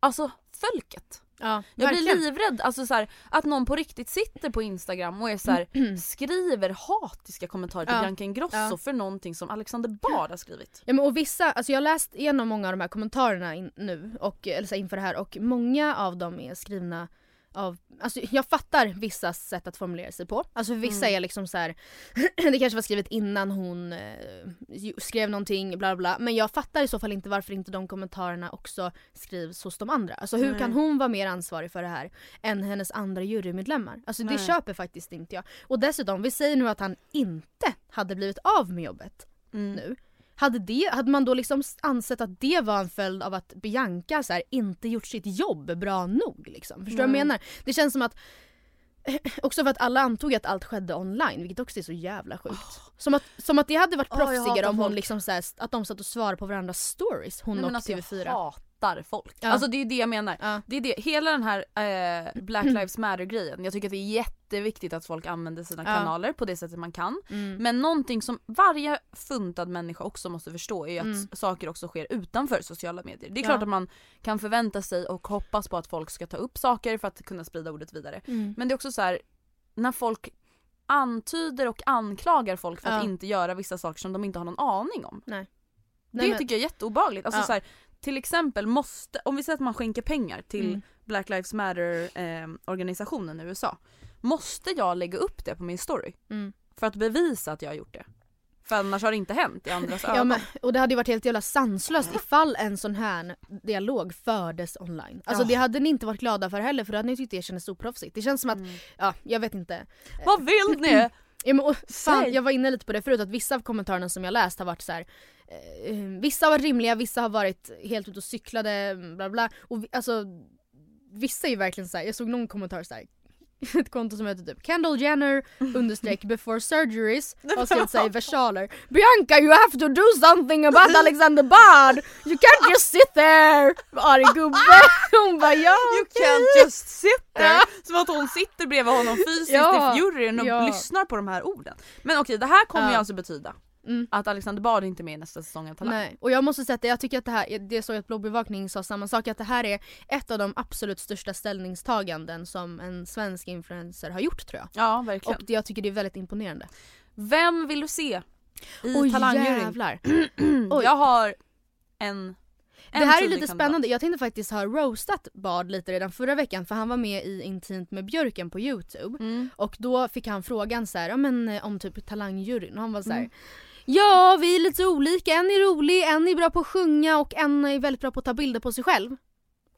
C: alltså folket.
B: Ja,
C: Jag
B: verkligen.
C: blir livrädd alltså så här, att någon på riktigt sitter på Instagram och är så här, skriver hatiska kommentarer till
B: Ja.
C: Bianca Ingrosso
B: Ja.
C: för någonting som Alexander Bard har skrivit.
B: Ja, men och vissa, alltså jag har läst igenom många av de här kommentarerna in, nu, och, eller så här, inför det här och många av dem är skrivna av, alltså jag fattar vissa sätt att formulera sig på. Alltså vissa
C: Mm.
B: är liksom så här. det kanske var skrivet innan hon eh, ju- skrev någonting bla bla men jag fattar i så fall inte varför inte de kommentarerna också skrivs hos de andra. Alltså hur
C: Nej.
B: kan hon vara mer ansvarig för det här än hennes andra jurymedlemmar? Alltså det
C: Nej.
B: köper faktiskt inte jag. Och dessutom, vi säger nu att han inte hade blivit av med jobbet
C: Mm.
B: nu. Hade, det, hade man då liksom ansett att det var en följd av att
C: Mm.
B: Bianca så här, inte gjort sitt jobb bra nog? Liksom? Förstår du vad jag menar? Det känns som att Också för att alla antog att allt skedde online, vilket också är så jävla sjukt. Som, att, som att det hade varit
C: Åh, jag
B: proffsigare
C: hatar
B: om hon
C: folk.
B: liksom såhär, att de satt och svarade på varandras stories, hon
C: Nej,
B: och
C: men alltså,
B: TV4.
C: Jag hatar folk.
B: Ja.
C: Alltså det är ju det jag menar. Det är det. Hela den här eh, Black Lives Matter-grejen, jag tycker att det är jätteviktigt att folk använder sina
B: Ja.
C: kanaler på det sättet man kan.
B: Mm.
C: Men någonting som varje funtad människa också måste förstå är ju att
B: Mm.
C: s- saker också sker utanför sociala medier. Det är
B: Ja.
C: klart att man kan förvänta sig och hoppas på att folk ska ta upp saker för att kunna sprida ordet vidare.
B: Mm.
C: Men det är också så här när folk antyder och anklagar folk för att
B: Ja.
C: inte göra vissa saker som de inte har någon aning om.
B: Nej.
C: det
B: Nej, men-
C: tycker jag är jätteobehagligt. Alltså,
B: Ja.
C: så här, till exempel måste, om vi säger att man skänker pengar till
B: Mm.
C: Black Lives Matter eh, organisationen i USA. Måste jag lägga upp det på min story?
B: Mm.
C: För att bevisa att jag har gjort det? För annars har det inte hänt i andras
B: Ja,
C: ögon.
B: men, och det hade ju varit helt jävla sanslöst ifall en sån här dialog fördes online. Alltså
C: Ja.
B: det hade ni inte varit glada för heller för då hade ni tyckt det kändes oproffsigt. Det känns som
C: Mm.
B: att, ja jag vet inte.
C: Vad vill ni?
B: Ja, men, och, fan,
C: Säg.
B: jag var inne lite på det förut att vissa av kommentarerna som jag läst har varit så här. eh, vissa har varit rimliga, vissa har varit helt ute och cyklade, bla bla. Och vi, alltså, vissa är ju verkligen så här. jag såg någon kommentar så här. Ett konto som heter typ Kendall Jenner understreck before surgeries har skrivit såhär i versaler Bianca you have to do something about Alexander Bard! You can't just sit there! Arg gubbe! Hon bara ja
C: You
B: okej."
C: can't just sit there. Som att hon sitter bredvid honom fysiskt
B: Ja,
C: i juryn och
B: ja.
C: lyssnar på de här orden. Men okej, det här kommer
B: Ja. Mm.
C: ju alltså betyda att Alexander Bard inte är med i nästa säsong av Talang.
B: Nej, och jag måste säga att jag tycker att det här, det såg jag att bloggbevakning sa samma sak, att det här är ett av de absolut största ställningstaganden som en svensk influencer har gjort tror jag.
C: Ja, verkligen.
B: Och det- jag tycker det är väldigt imponerande.
C: Vem vill du se i
B: Oj,
C: Talangjuryn?
B: jävlar.
C: Oj. Mm. Jag har en, en
B: Det här är
C: tydlig
B: lite
C: kandidat.
B: spännande, jag tänkte faktiskt ha roastat Bard lite redan förra veckan för han var med i Intimt med Björken på youtube
C: Mm.
B: och då fick han frågan så här, ja, men, eh, om typ talangjuryn och han var så
C: Mm.
B: här. Ja vi är lite olika, en är rolig, en är bra på att sjunga och en är väldigt bra på att ta bilder på sig själv.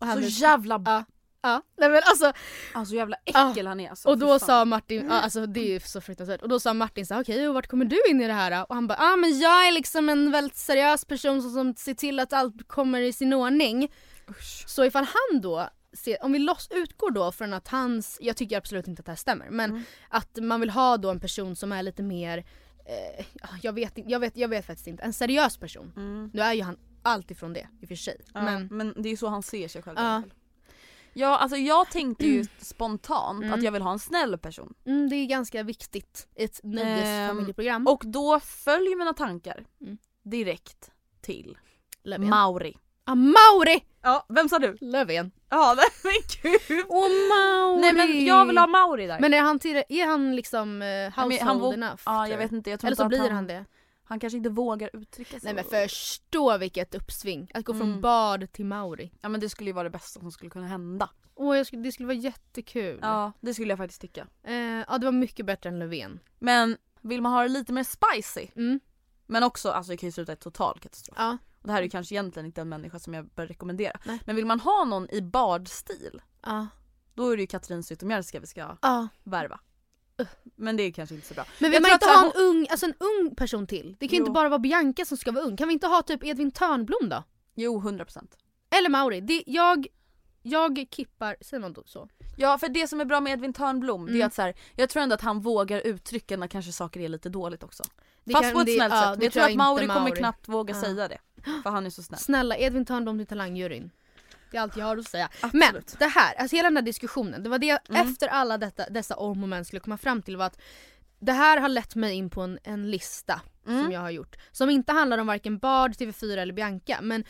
B: Och han
C: Så
B: är-
C: jävla...
B: Ja. Ja, nej men alltså
C: Alltså jävla äckel han är alltså.
B: och
C: fy
B: då
C: fan.
B: sa Martin, ja, alltså det är ju så fruktansvärt, och då sa Martin så här, okej och vart kommer du in i det här då? Och han bara, ja ah, men jag är liksom en väldigt seriös person som, som ser till att allt kommer i sin ordning. Så ifall han då, ser, om vi loss, utgår då från att hans, jag tycker absolut inte att det här stämmer, men
C: Mm.
B: att man vill ha då en person som är lite mer, eh, jag, vet, inte- jag, vet, jag vet faktiskt inte, en seriös person. Nu är ju han allt ifrån det i och för sig.
C: Mm. Ja, men... Ah.
B: Men
C: det är ju så han ser sig själv. i
B: Ja.
C: alla fall. Ja alltså jag tänkte ju spontant att jag vill ha en snäll person.
B: mm, det är ganska viktigt i ett nöjesfamiljeprogram.
C: Och då följer mina tankar direkt till
B: Löfven.
C: Mauri.
B: ah, Mauri!
C: Ja, vem sa du?
B: Löfven.
C: Ja nej, men gud!
B: Åh Mauri!
C: Nej men jag vill ha Mauri där.
B: Men är han, till, är han liksom eh, household
C: Nej, men han vå-
B: enough? tror
C: Ja
B: du?
C: jag vet inte, jag tror
B: Eller
C: inte
B: så
C: att
B: blir han,
C: han
B: det.
C: Han kanske inte vågar uttrycka sig.
B: Nej men förstå vilket uppsving. Att gå från
C: Mm.
B: Bard till Mauri.
C: Ja men det skulle ju vara det bästa som skulle kunna hända.
B: Åh jag skulle, det skulle vara jättekul.
C: Ja det skulle jag faktiskt tycka.
B: Eh, ja det var mycket bättre än Löfven.
C: Men vill man ha det lite mer spicy?
B: Mm.
C: Men också, alltså det kan ju sluta i total katastrof.
B: Ja.
C: Och det här är ju kanske egentligen inte en människa som jag bör rekommendera.
B: Nej.
C: Men vill man ha någon i bardstil,
B: Ja.
C: då är det ju Katrin Zytomierska vi ska
B: ja.
C: värva. Men det är kanske inte så bra.
B: Men vill
C: Jag
B: man
C: tror
B: inte
C: att så
B: ha
C: här
B: en ung, alltså en ung person till? Det kan ju inte
C: Jo.
B: bara vara Bianca som ska vara ung. Kan vi inte ha typ Edvin Törnblom då?
C: Jo, 100%.
B: Eller Mauri. Det, jag, jag kippar, säger man då så?
C: Ja för det som är bra med Edvin Törnblom det är
B: Mm.
C: att så här, jag tror ändå att han vågar uttrycka när kanske saker är lite dåligt också.
B: Det
C: Fast
B: kan-
C: på ett
B: det-
C: snällt
B: ja,
C: sätt.
B: det
C: Men jag
B: tror
C: tror
B: jag
C: att Mauri
B: inte
C: kommer
B: Mauri.
C: knappt våga
B: Ja.
C: säga det. För han är så snäll.
B: Snälla Edvin Törnblom till talangjuryn. Det är allt jag har att säga. Men det här, alltså hela den här diskussionen, det var det jag efter alla detta, dessa om och men skulle komma fram till var att det här har lett mig in på en, en lista som jag har gjort. Som inte handlar om varken Bard, TV4 eller Bianca men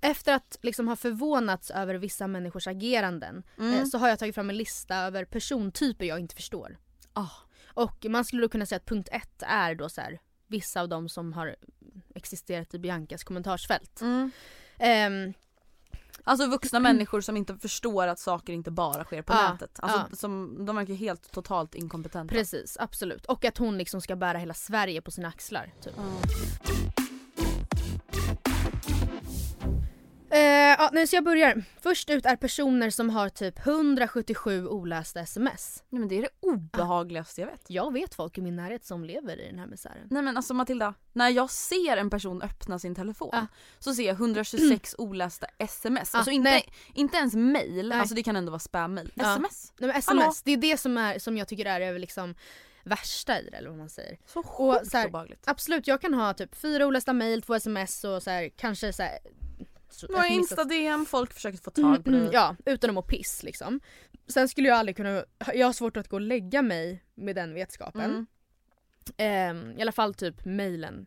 B: efter att liksom ha förvånats över vissa människors ageranden eh, så har jag tagit fram en lista över persontyper jag inte förstår.
C: Ah.
B: Och man skulle då kunna säga att punkt ett är då så här, vissa av dem som har existerat i Biancas kommentarsfält. Ehm,
C: Alltså vuxna människor som inte förstår att saker inte bara sker på
B: Ja,
C: nätet. Alltså,
B: ja.
C: som, de verkar helt totalt inkompetenta.
B: precis, absolut. Och att hon liksom ska bära hela Sverige på sina axlar. Typ. Eh, ja, nej, så jag börjar. Först ut är personer som har typ 177 olästa sms.
C: Nej men det är det obehagligaste jag vet.
B: Jag vet folk i min närhet som lever i den här misären.
C: Nej men alltså Matilda, när jag ser en person öppna sin telefon så ser jag 126 olästa sms.
B: Ah,
C: alltså inte,
B: Mm. nej.
C: inte ens mail,
B: Nej.
C: alltså det kan ändå vara spam-mail.
B: Ja.
C: Sms.
B: Nej, men sms, det är det som, är, som jag tycker är det liksom värsta i det eller vad man säger.
C: Så sjukt
B: så här,
C: obehagligt.
B: Absolut, jag kan ha typ fyra olästa mejl, två sms och så här, kanske så här, så-
C: Några
B: ett missat-
C: Insta-DM, folk försöker få tag på
B: Mm,
C: dig.
B: mm, Ja, utan att må piss liksom. Sen skulle jag aldrig kunna, jag har svårt att gå och lägga mig med den vetskapen.
C: Mm.
B: Ehm, I alla fall typ mejlen.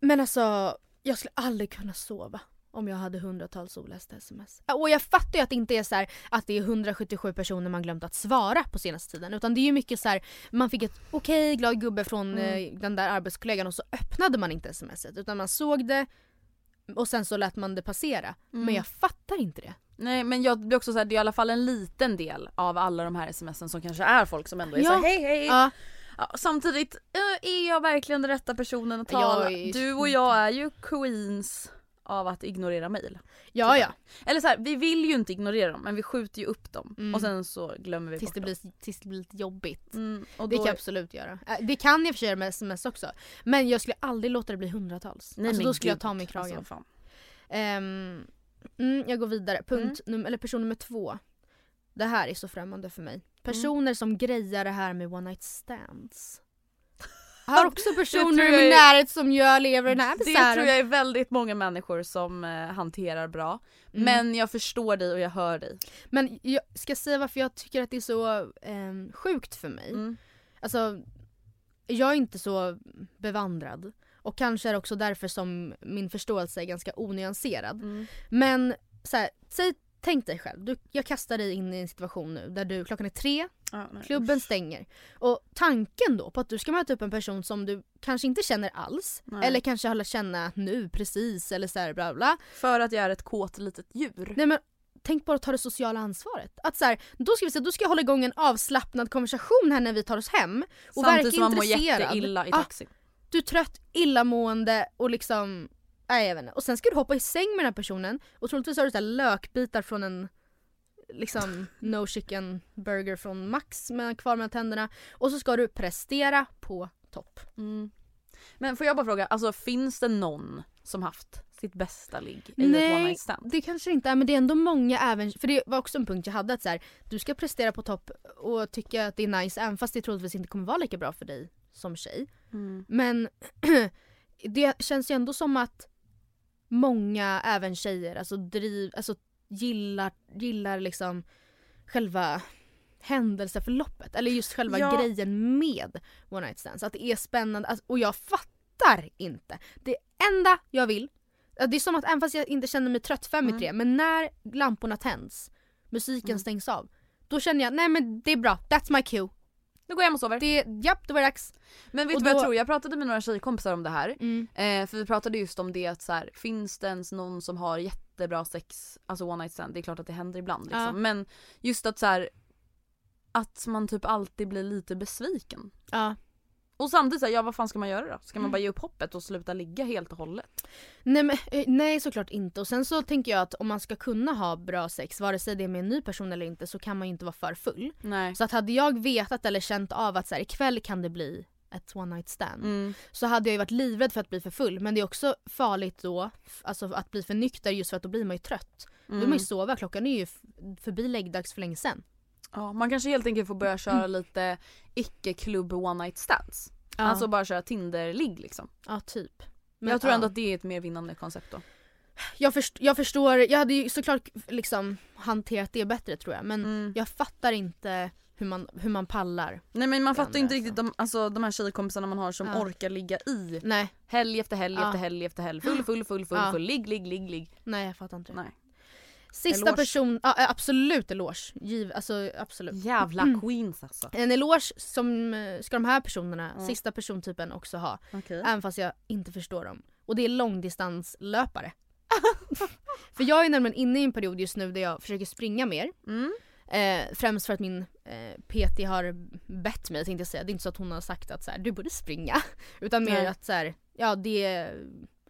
B: Men alltså, jag skulle aldrig kunna sova om jag hade hundratals olästa sms. Och jag fattar ju att det inte är så här att det är 177 personer man glömt att svara på senaste tiden. Utan det är ju mycket så här, man fick ett okej glad gubbe från
C: Mm.
B: eh, den där arbetskollegan och så öppnade man inte smset. Utan man såg det och sen så lät man det passera. Men
C: Mm.
B: jag fattar inte det.
C: Nej men jag blir också såhär, det är i alla fall en liten del av alla de här smsen som kanske är folk som ändå är
B: Ja.
C: såhär hej hej.
B: Ja.
C: Ja, samtidigt, eh, är jag verkligen den rätta personen att
B: Jag
C: tala?
B: är-
C: Du och jag är ju queens av att ignorera mail.
B: Ja ja.
C: Eller såhär, vi vill ju inte ignorera dem men vi skjuter ju upp dem
B: Mm.
C: och sen så glömmer vi
B: Tills
C: bort
B: det,
C: dem.
B: blir, tills det blir lite jobbigt.
C: Mm, och
B: det
C: då-
B: kan jag absolut göra. Äh, Det kan jag i och för sig göra med sms också. Men jag skulle aldrig låta det bli hundratals.
C: Nej,
B: alltså,
C: men
B: då skulle jag
C: gud.
B: ta mig i kragen.
C: Alltså, fan.
B: Ehm, mm, jag går vidare. Punkt
C: Mm.
B: num- eller person nummer två. Det här är så främmande för
C: Mm.
B: mig. Personer som grejar det här med one night stands. Jag har också
C: tror
B: personer i
C: jag
B: min
C: är-
B: närhet som jag lever i den här
C: Det
B: misären.
C: tror jag är väldigt många människor som eh, hanterar bra.
B: Mm.
C: Men jag förstår dig och jag hör dig.
B: Men jag ska säga varför jag tycker att det är så ehm, sjukt för mig. Alltså, jag är inte så bevandrad. Och kanske är det också därför som min förståelse är ganska onyanserad. Men så här, säg, tänk dig själv, du, jag kastar dig in i en situation nu där du, klockan är tre, klubben stänger. Och tanken då på att du ska möta upp en person som du kanske inte känner alls.
C: Nej.
B: Eller kanske har lärt känna nu precis eller så här bla bla.
C: För att jag är ett kåt litet djur.
B: Nej men tänk bara att ta det sociala ansvaret. Att så här, då ska vi se, då ska jag hålla igång en avslappnad konversation här när vi tar oss hem. Och verka
C: Samtidigt som man mår
B: intresserad.
C: jätteilla i
B: Ah,
C: taxin.
B: du är trött, illamående och liksom, nej jag vet inte. Och sen ska du hoppa i säng med den här personen och troligtvis har du så här lökbitar från en liksom no chicken burger från Max med kvar mellan tänderna. Och så ska du prestera på topp.
C: Mm. Men får jag bara fråga, alltså finns det någon som haft sitt bästa ligg i ett one
B: Nej,
C: night stand?
B: det kanske det inte är men det är ändå många även, för det var också en punkt jag hade att så här, du ska prestera på topp och tycka att det är nice även fast det troligtvis inte kommer vara lika bra för dig som tjej. Men det känns ju ändå som att många, även tjejer, alltså, driv, alltså gillar, gillar liksom själva händelseförloppet eller just själva
C: Ja.
B: grejen med one night stands. Att det är spännande alltså, och jag fattar inte. Det enda jag vill, det är som att även fast jag inte känner mig trött fem i tre men när lamporna tänds, musiken stängs av, då känner jag nej men det är bra, that's my cue.
C: Nu går jag hem och sover.
B: Det, japp, då var det dags.
C: Men vet
B: Och
C: du vad
B: då- Mm.
C: jag tror? Jag pratade med några tjejkompisar om det här. Eh, för vi pratade just om det att så här, finns det ens någon som har jättebra sex, alltså one night stand, det är klart att det händer ibland liksom.
B: Ja.
C: Men just att så här, att man typ alltid blir lite besviken.
B: Ja.
C: Och samtidigt såhär, ja vad fan ska man göra då? Ska man
B: Mm.
C: bara ge upp hoppet och sluta ligga helt och hållet?
B: Nej, men, eh, nej såklart inte. Och sen så tänker jag att om man ska kunna ha bra sex, vare sig det är med en ny person eller inte, så kan man ju inte vara för full.
C: Nej.
B: Så att hade jag vetat eller känt av att så här, ikväll kan det bli ett one night stand.
C: Mm.
B: Så hade jag ju varit livrädd för att bli för full. Men det är också farligt då, f- alltså att bli för nykter just för att då blir man ju trött. Då vill man
C: Mm.
B: ju sova, klockan är ju f- förbi läggdags för länge sen.
C: Ja, man kanske helt enkelt får börja köra lite icke-klubb one night stands.
B: Mm. Ja.
C: Alltså bara köra Tinder-ligg liksom.
B: Ja typ.
C: Men,
B: Men,
C: jag tror
B: ja.
C: ändå att det är ett mer vinnande koncept då.
B: Jag, först, jag förstår, jag hade ju såklart liksom hanterat det bättre tror jag. Men
C: Mm.
B: jag fattar inte hur man, hur man pallar.
C: Nej men man
B: Det
C: fattar ju inte riktigt de, alltså, de här tjejkompisarna man har som
B: Ja.
C: orkar ligga i
B: Nej.
C: helg efter helg
B: Ja.
C: efter helg efter helg. Full full full full
B: Ja.
C: full ligg ligg ligg ligg.
B: Nej jag fattar inte.
C: Nej.
B: Sista
C: Eloge.
B: person, ja, eh, absolut eloge. Giv, alltså absolut.
C: Jävla
B: Mm.
C: queens alltså.
B: En eloge som eh, ska de här personerna,
C: Ja.
B: sista persontypen också ha.
C: Okej.
B: Även fast jag inte förstår dem. Och det är långdistanslöpare. för jag är nämligen inne i en period just nu där jag försöker springa mer.
C: Mm.
B: Eh, främst för att min eh, PT har bett mig tänkte jag säga. Det är inte så att hon har sagt att så här, du borde springa. Utan mer
C: Nej.
B: att så här, ja det är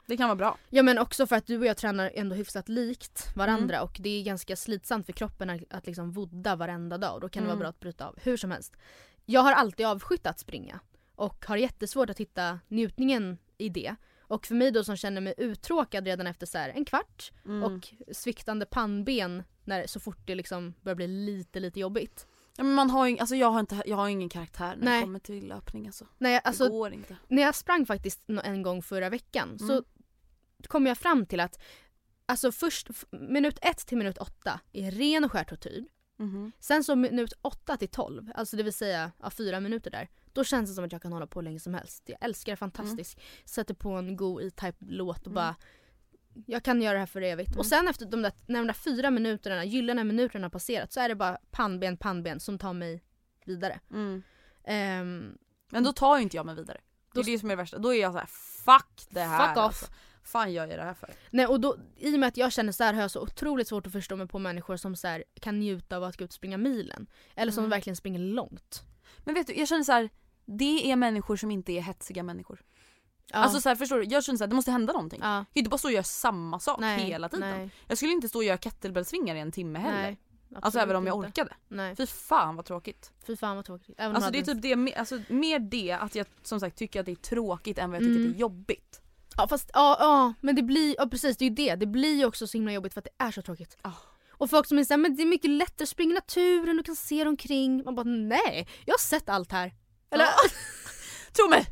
C: Det kan vara bra.
B: Ja men också för att du och jag tränar ändå hyfsat likt varandra
C: Mm.
B: och det är ganska slitsamt för kroppen att, att liksom vodda varenda dag och då kan det vara
C: Mm.
B: bra att bryta av. Hur som helst. Jag har alltid avskytt att springa och har jättesvårt att hitta njutningen i det. Och för mig då som känner mig uttråkad redan efter så här en kvart
C: Mm.
B: och sviktande pannben när, så fort det liksom börjar bli lite lite jobbigt.
C: Ja, men man har ju, alltså jag, har inte, jag har ingen karaktär när
B: Nej.
C: det kommer till löpning alltså.
B: Nej, alltså,
C: det går inte.
B: när jag sprang faktiskt nå- en gång förra veckan så
C: Mm.
B: kom jag fram till att alltså först f- minut 1 till minut 8 är ren och skär tortyr.
C: Mhm.
B: Sen så minut 8 till 12, alltså det vill säga ja, fyra minuter där, då känns det som att jag kan hålla på hur länge som helst. Jag älskar det, fantastiskt. Sätter på en god E-Type-låt och
C: Mm.
B: bara jag kan göra det här för evigt. Och sen efter de där, när de där fyra minuterna, gyllene minuterna har passerat så är det bara pannben, pannben som tar mig vidare. Ehm,
C: Mm. Men då tar ju inte jag mig vidare. Det är det som är det värsta. Då är jag så här: fuck det här
B: Fuck off.
C: Alltså. Fan gör jag det här för?
B: Nej och då, i och med att jag känner så här har jag så otroligt svårt att förstå mig på människor som så här, kan njuta av att gå ut och springa milen. Eller som
C: Mm.
B: verkligen springer långt.
C: Men vet du, jag känner så här. det är människor som inte är hetsiga människor.
B: Ja.
C: Alltså så här, förstår du? Jag känner såhär, det måste hända någonting.
B: Ja.
C: Jag kan ju inte bara stå och göra samma sak
B: Nej,
C: hela tiden.
B: nej.
C: Jag skulle inte stå och göra kettlebellsvingar i en timme heller.
B: Nej,
C: alltså även om jag
B: absolut
C: orkade.
B: Nej.
C: Fy fan vad tråkigt.
B: Fy fan vad tråkigt. Även om
C: Alltså
B: jag
C: det är
B: hade en-
C: typ det, me- alltså, mer det att jag som sagt tycker att det är tråkigt än vad jag tycker
B: Mm.
C: att det är jobbigt.
B: Ja fast ja, ja men det blir, ja precis det är ju det. Det blir ju också så himla jobbigt för att det är så tråkigt.
C: Ah.
B: Och folk som är såhär, men det är mycket lättare att springa i naturen, du kan se dig omkring. Man bara nej, jag har sett allt här.
C: Ah.
B: Eller? alltså,
C: Tro mig!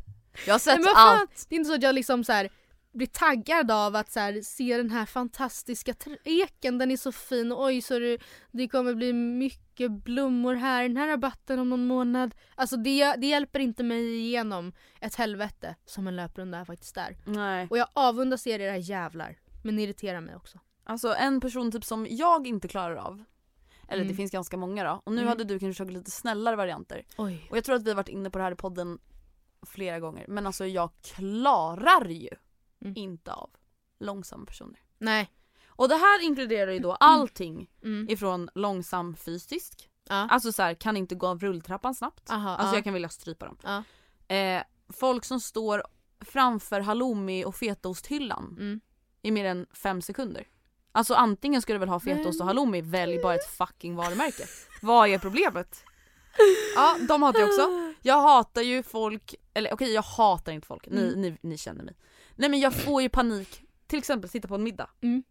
C: Jag har sett
B: Nej, men vad fan,
C: allt.
B: Det är inte så att jag liksom så här blir taggad av att så här, se den här fantastiska tr- eken, den är så fin och oj så det, det kommer bli mycket blommor här i den här rabatten om någon månad. Alltså det, det hjälper inte mig igenom ett helvete som en löprunda faktiskt är.
C: Nej.
B: Och jag avundas er era jävlar. Men ni irriterar mig också.
C: Alltså en person typ som jag inte klarar av. Eller
B: Mm.
C: det finns ganska många då. Och nu
B: Mm.
C: hade du kanske tagit lite snällare varianter.
B: Oj.
C: Och jag tror att vi har varit inne på det här i podden flera gånger. Men alltså jag klarar ju
B: Mm.
C: inte av långsamma personer.
B: Nej.
C: Och det här inkluderar ju då allting
B: Mm.
C: ifrån långsam fysisk.
B: Ja.
C: Alltså så här, kan inte gå av rulltrappan snabbt.
B: Aha,
C: alltså
B: ja.
C: jag kan vilja strypa dem.
B: Ja.
C: Eh, folk som står framför halloumi och fetaosthyllan
B: Mm.
C: i mer än fem sekunder. Alltså antingen ska du väl ha fetaost och halloumi, välj bara ett fucking varumärke. Vad är problemet? Ja, de hatar jag också. Jag hatar ju folk, eller okej jag hatar inte folk, ni,
B: Mm.
C: ni, ni känner mig. Nej men jag får ju panik, till exempel sitta på en middag.
B: Mm.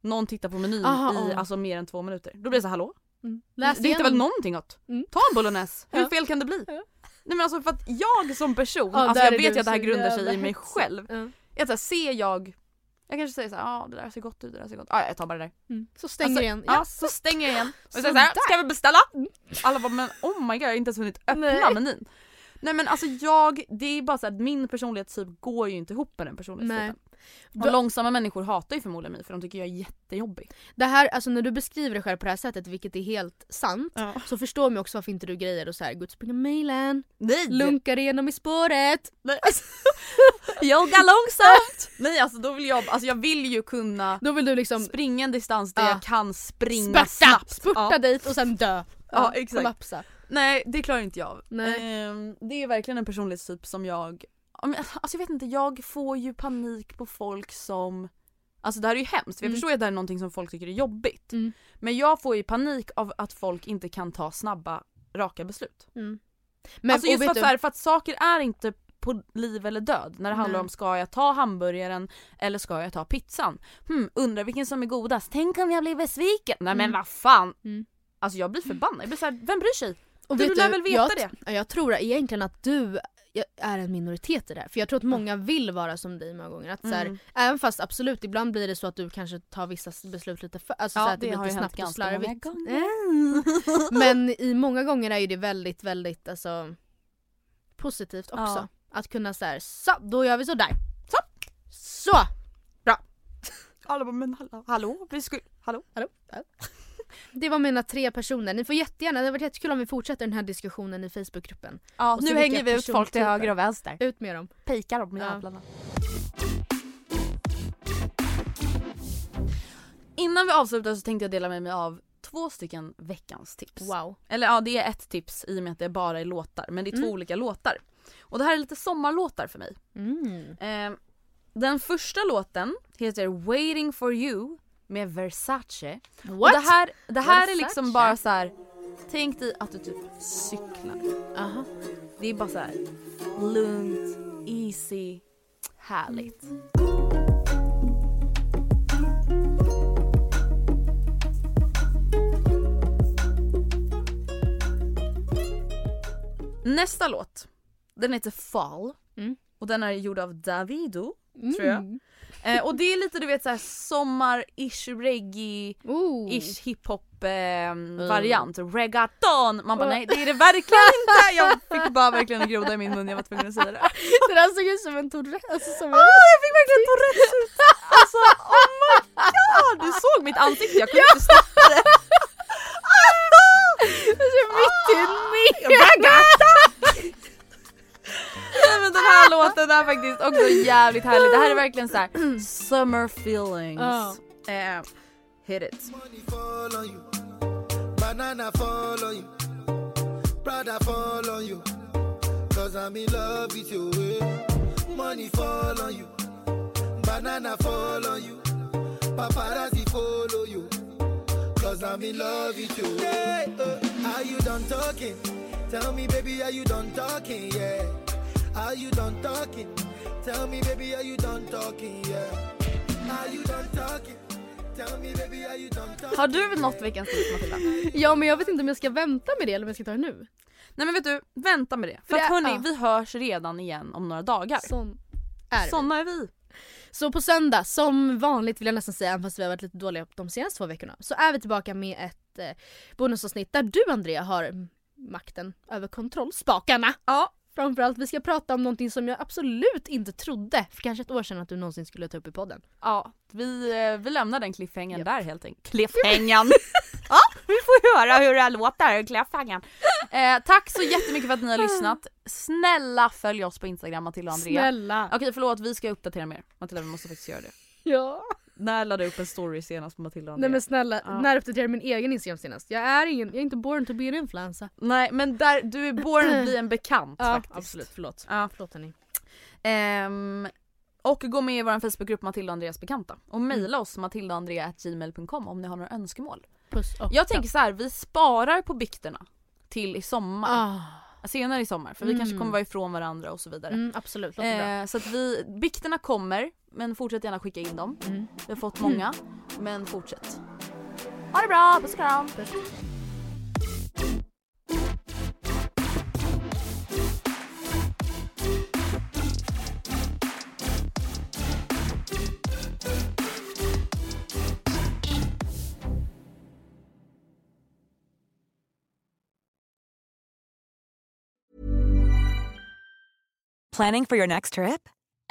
C: Någon tittar på menyn
B: Aha,
C: i
B: ja.
C: alltså mer än två minuter. Då blir det så här, hallå?
B: Mm. Läs
C: Det hittar väl
B: igenom.
C: någonting åt.
B: Mm.
C: Ta en bolognese, hur
B: Ja.
C: fel kan det bli? Nej men alltså för att jag som person,
B: Ja,
C: alltså
B: där
C: jag
B: är
C: vet
B: du
C: ju att det här
B: så
C: grundar sig i
B: jävla
C: mig
B: hetsig.
C: själv.
B: Ja. Mm.
C: Jag så här, ser jag, jag kanske säger så här, ja ah, det där ser gott ut, det där ser gott ut. Ah, jag tar bara det där.
B: Mm. Så stänger
C: alltså,
B: jag igen.
C: Ja, så stänger jag igen. Och så säger
B: Sådär. Mm.
C: jag så här, ska vi beställa? Alla bara, men oh my god jag har inte ens hunnit öppna
B: Nej.
C: menyn. Nej men alltså jag, det är bara så att min personlighetstyp går ju inte ihop med den personlighetstypen. Och
B: Då-
C: långsamma människor hatar ju förmodligen mig för de tycker jag är jättejobbig.
B: Det här, alltså när du beskriver dig själv på det här sättet, vilket är helt sant, så förstår man ju också varför inte du grejer och så här, gå ut och springa milen,
C: Nej.
B: lunkar igenom i spåret. Alltså,
C: Nej. Jogga långsamt! Nej alltså då vill jag, alltså jag vill ju kunna
B: Då vill du liksom
C: springa en distans där
B: Ja.
C: jag kan springa
B: spurta,
C: snabbt.
B: spurta
C: Ja.
B: dit och sen dö.
C: Ja, exakt.
B: Kollapsa.
C: Nej det klarar inte jag av.
B: Nej.
C: Ehm, det är verkligen en personlighetstyp som jag, ja, men, alltså jag vet inte, jag får ju panik på folk som Alltså det här är ju hemskt, för jag
B: Mm.
C: förstår ju att det här är någonting som folk tycker är jobbigt.
B: Mm.
C: Men jag får ju panik av att folk inte kan ta snabba, raka beslut.
B: Mm. Men,
C: alltså
B: och
C: just
B: vet
C: för att,
B: du-
C: så här, för att saker är inte på liv eller död när det handlar
B: Nej.
C: om ska jag ta hamburgaren eller ska jag ta pizzan? Hmm, undrar vilken som är godast? Tänk om jag blir besviken? Nej men vad fan!
B: Mm.
C: Alltså jag blir förbannad, jag blir såhär, vem bryr sig?
B: Och
C: du,
B: vet
C: lär väl veta
B: jag,
C: det?
B: ja, Jag tror egentligen att du är en minoritet i det här. För jag tror att många vill vara som dig många gånger. Att så här,
C: Mm.
B: Även fast absolut, ibland blir det så att du kanske tar vissa beslut lite för, alltså,
C: Ja,
B: så här,
C: typ
B: att
C: det
B: blir
C: har
B: lite
C: ju hänt
B: snabbt och
C: ganska många
B: slarvigt.
C: gånger.
B: Mm. Men i många gånger är ju det väldigt, väldigt alltså, positivt också.
C: Ja.
B: Att kunna så här, så, då gör vi så där. Så! Så! Bra!
C: Alla bara, men hallå, hallå? Vi skulle, hallå?
B: Hallå? Det var mina tre personer. Ni får jättegärna, det har varit jättekul om vi fortsätter den här diskussionen i Facebookgruppen.
C: Ja,
B: Och så
C: nu
B: vilka
C: hänger vi ut folk till
B: persontyper.
C: höger och vänster.
B: Ut med dem.
C: Pikar dem
B: Ja.
C: jävlarna. Innan vi avslutar så tänkte jag dela med mig av två stycken veckans tips.
B: Wow.
C: Eller ja, det är ett tips i och med att det bara är låtar. Men det är två
B: Mm.
C: olika låtar. Och det här är lite sommarlåtar för mig.
B: Mm.
C: Eh, Den första låten heter Waiting for you med Versace. What? Och
A: What?
C: det här, det här är
A: Versace?
C: liksom bara så här. tänk dig att du typ cyklar. Det är bara så här lugnt, easy, härligt. Nästa låt, den heter Fall och den är gjord av Davido tror jag.
A: Mm.
C: Eh, och det är lite du vet såhär sommar-ish reggae, ish hiphop eh, variant. Reggaeton! Man bara nej det är det verkligen inte! Jag fick bara verkligen en groda i min mun, jag var tvungen att säga det.
B: Det där såg ut som en Tourette. Alltså, som en...
C: Åh, Ah, jag fick verkligen Tourettes ut! Alltså oh my god! Du såg mitt ansikte, jag kunde inte stoppa det.
B: Alltså, mitt i
C: Ah. Ragata! Nej men den här låten är faktiskt också jävligt härlig. Det här är verkligen så här: summer feelings.
E: Ja.
C: Eh, hit it.
E: fall on you. Banana fall on you. Prada fall on you. Cause I'm in love with you. eh. Money fall on you. Banana fall on you. Paparazzi follow you. Cause I'm in love with you. Yeah, uh, are you done talking? Tell me, baby, are you done talking? Yeah. Are you done talking? Tell me, baby, are you done talking? Yeah. Are you done talking? Tell me, baby, are you done talking?
C: Har du något veckans tips Matilda?
B: Ja men jag vet inte om jag ska vänta med det eller om jag ska ta det nu.
C: Nej men vet du, vänta med det. För,
B: För
C: att
B: det-
C: hörni,
B: ja.
C: vi hörs redan igen om några dagar.
B: Sån är vi.
C: Såna är vi.
B: Så på söndag, som vanligt vill jag nästan säga, även fast vi har varit lite dåliga de senaste två veckorna, så är vi tillbaka med ett eh, bonusavsnitt där du Andrea har mm, makten över kontrollspakarna.
C: Ja.
B: Framförallt, vi ska prata om någonting som jag absolut inte trodde för kanske ett år sedan att du någonsin skulle ta upp i podden.
C: Ja, vi, eh, vi lämnar den cliffhangern där helt enkelt. Cliffhangern! ja, vi får höra hur det här låter, cliffhangern. Eh, tack så jättemycket för att ni har lyssnat. Snälla följ oss på Instagram Matilda och Andrea.
B: Snälla.
C: Okej förlåt, vi ska uppdatera mer. Matilda vi måste faktiskt göra det.
B: Ja.
C: När lade du upp en story senast på Matilda och Andrea?
B: Nej men snälla,
C: Ja.
B: när uppdaterade jag min egen Instagram senast? Jag är ingen, jag är inte born to be an influencer.
C: Nej men där, du är born att bli en bekant
B: Ja,
C: faktiskt.
B: absolut.
C: förlåt. Ja.
B: Förlåt hörni.
C: Ehm, och gå med i vår Facebookgrupp Matilda och Andreas bekanta. Och mejla oss matildaandrea.gmail.com om ni har några önskemål.
B: Puss och
C: Jag tänker så här, vi sparar på bikterna till i sommar. Senare i sommar för vi
B: Mm.
C: kanske kommer vara ifrån varandra och så vidare.
B: Ah.
C: Eh,
B: Mm, absolut, låter bra.
C: så att vi, bikterna kommer men fortsätt gärna skicka in dem.
B: Mm.
C: Vi har fått många men fortsätt. Ha det bra, puss och kram!
F: Planning for your next trip?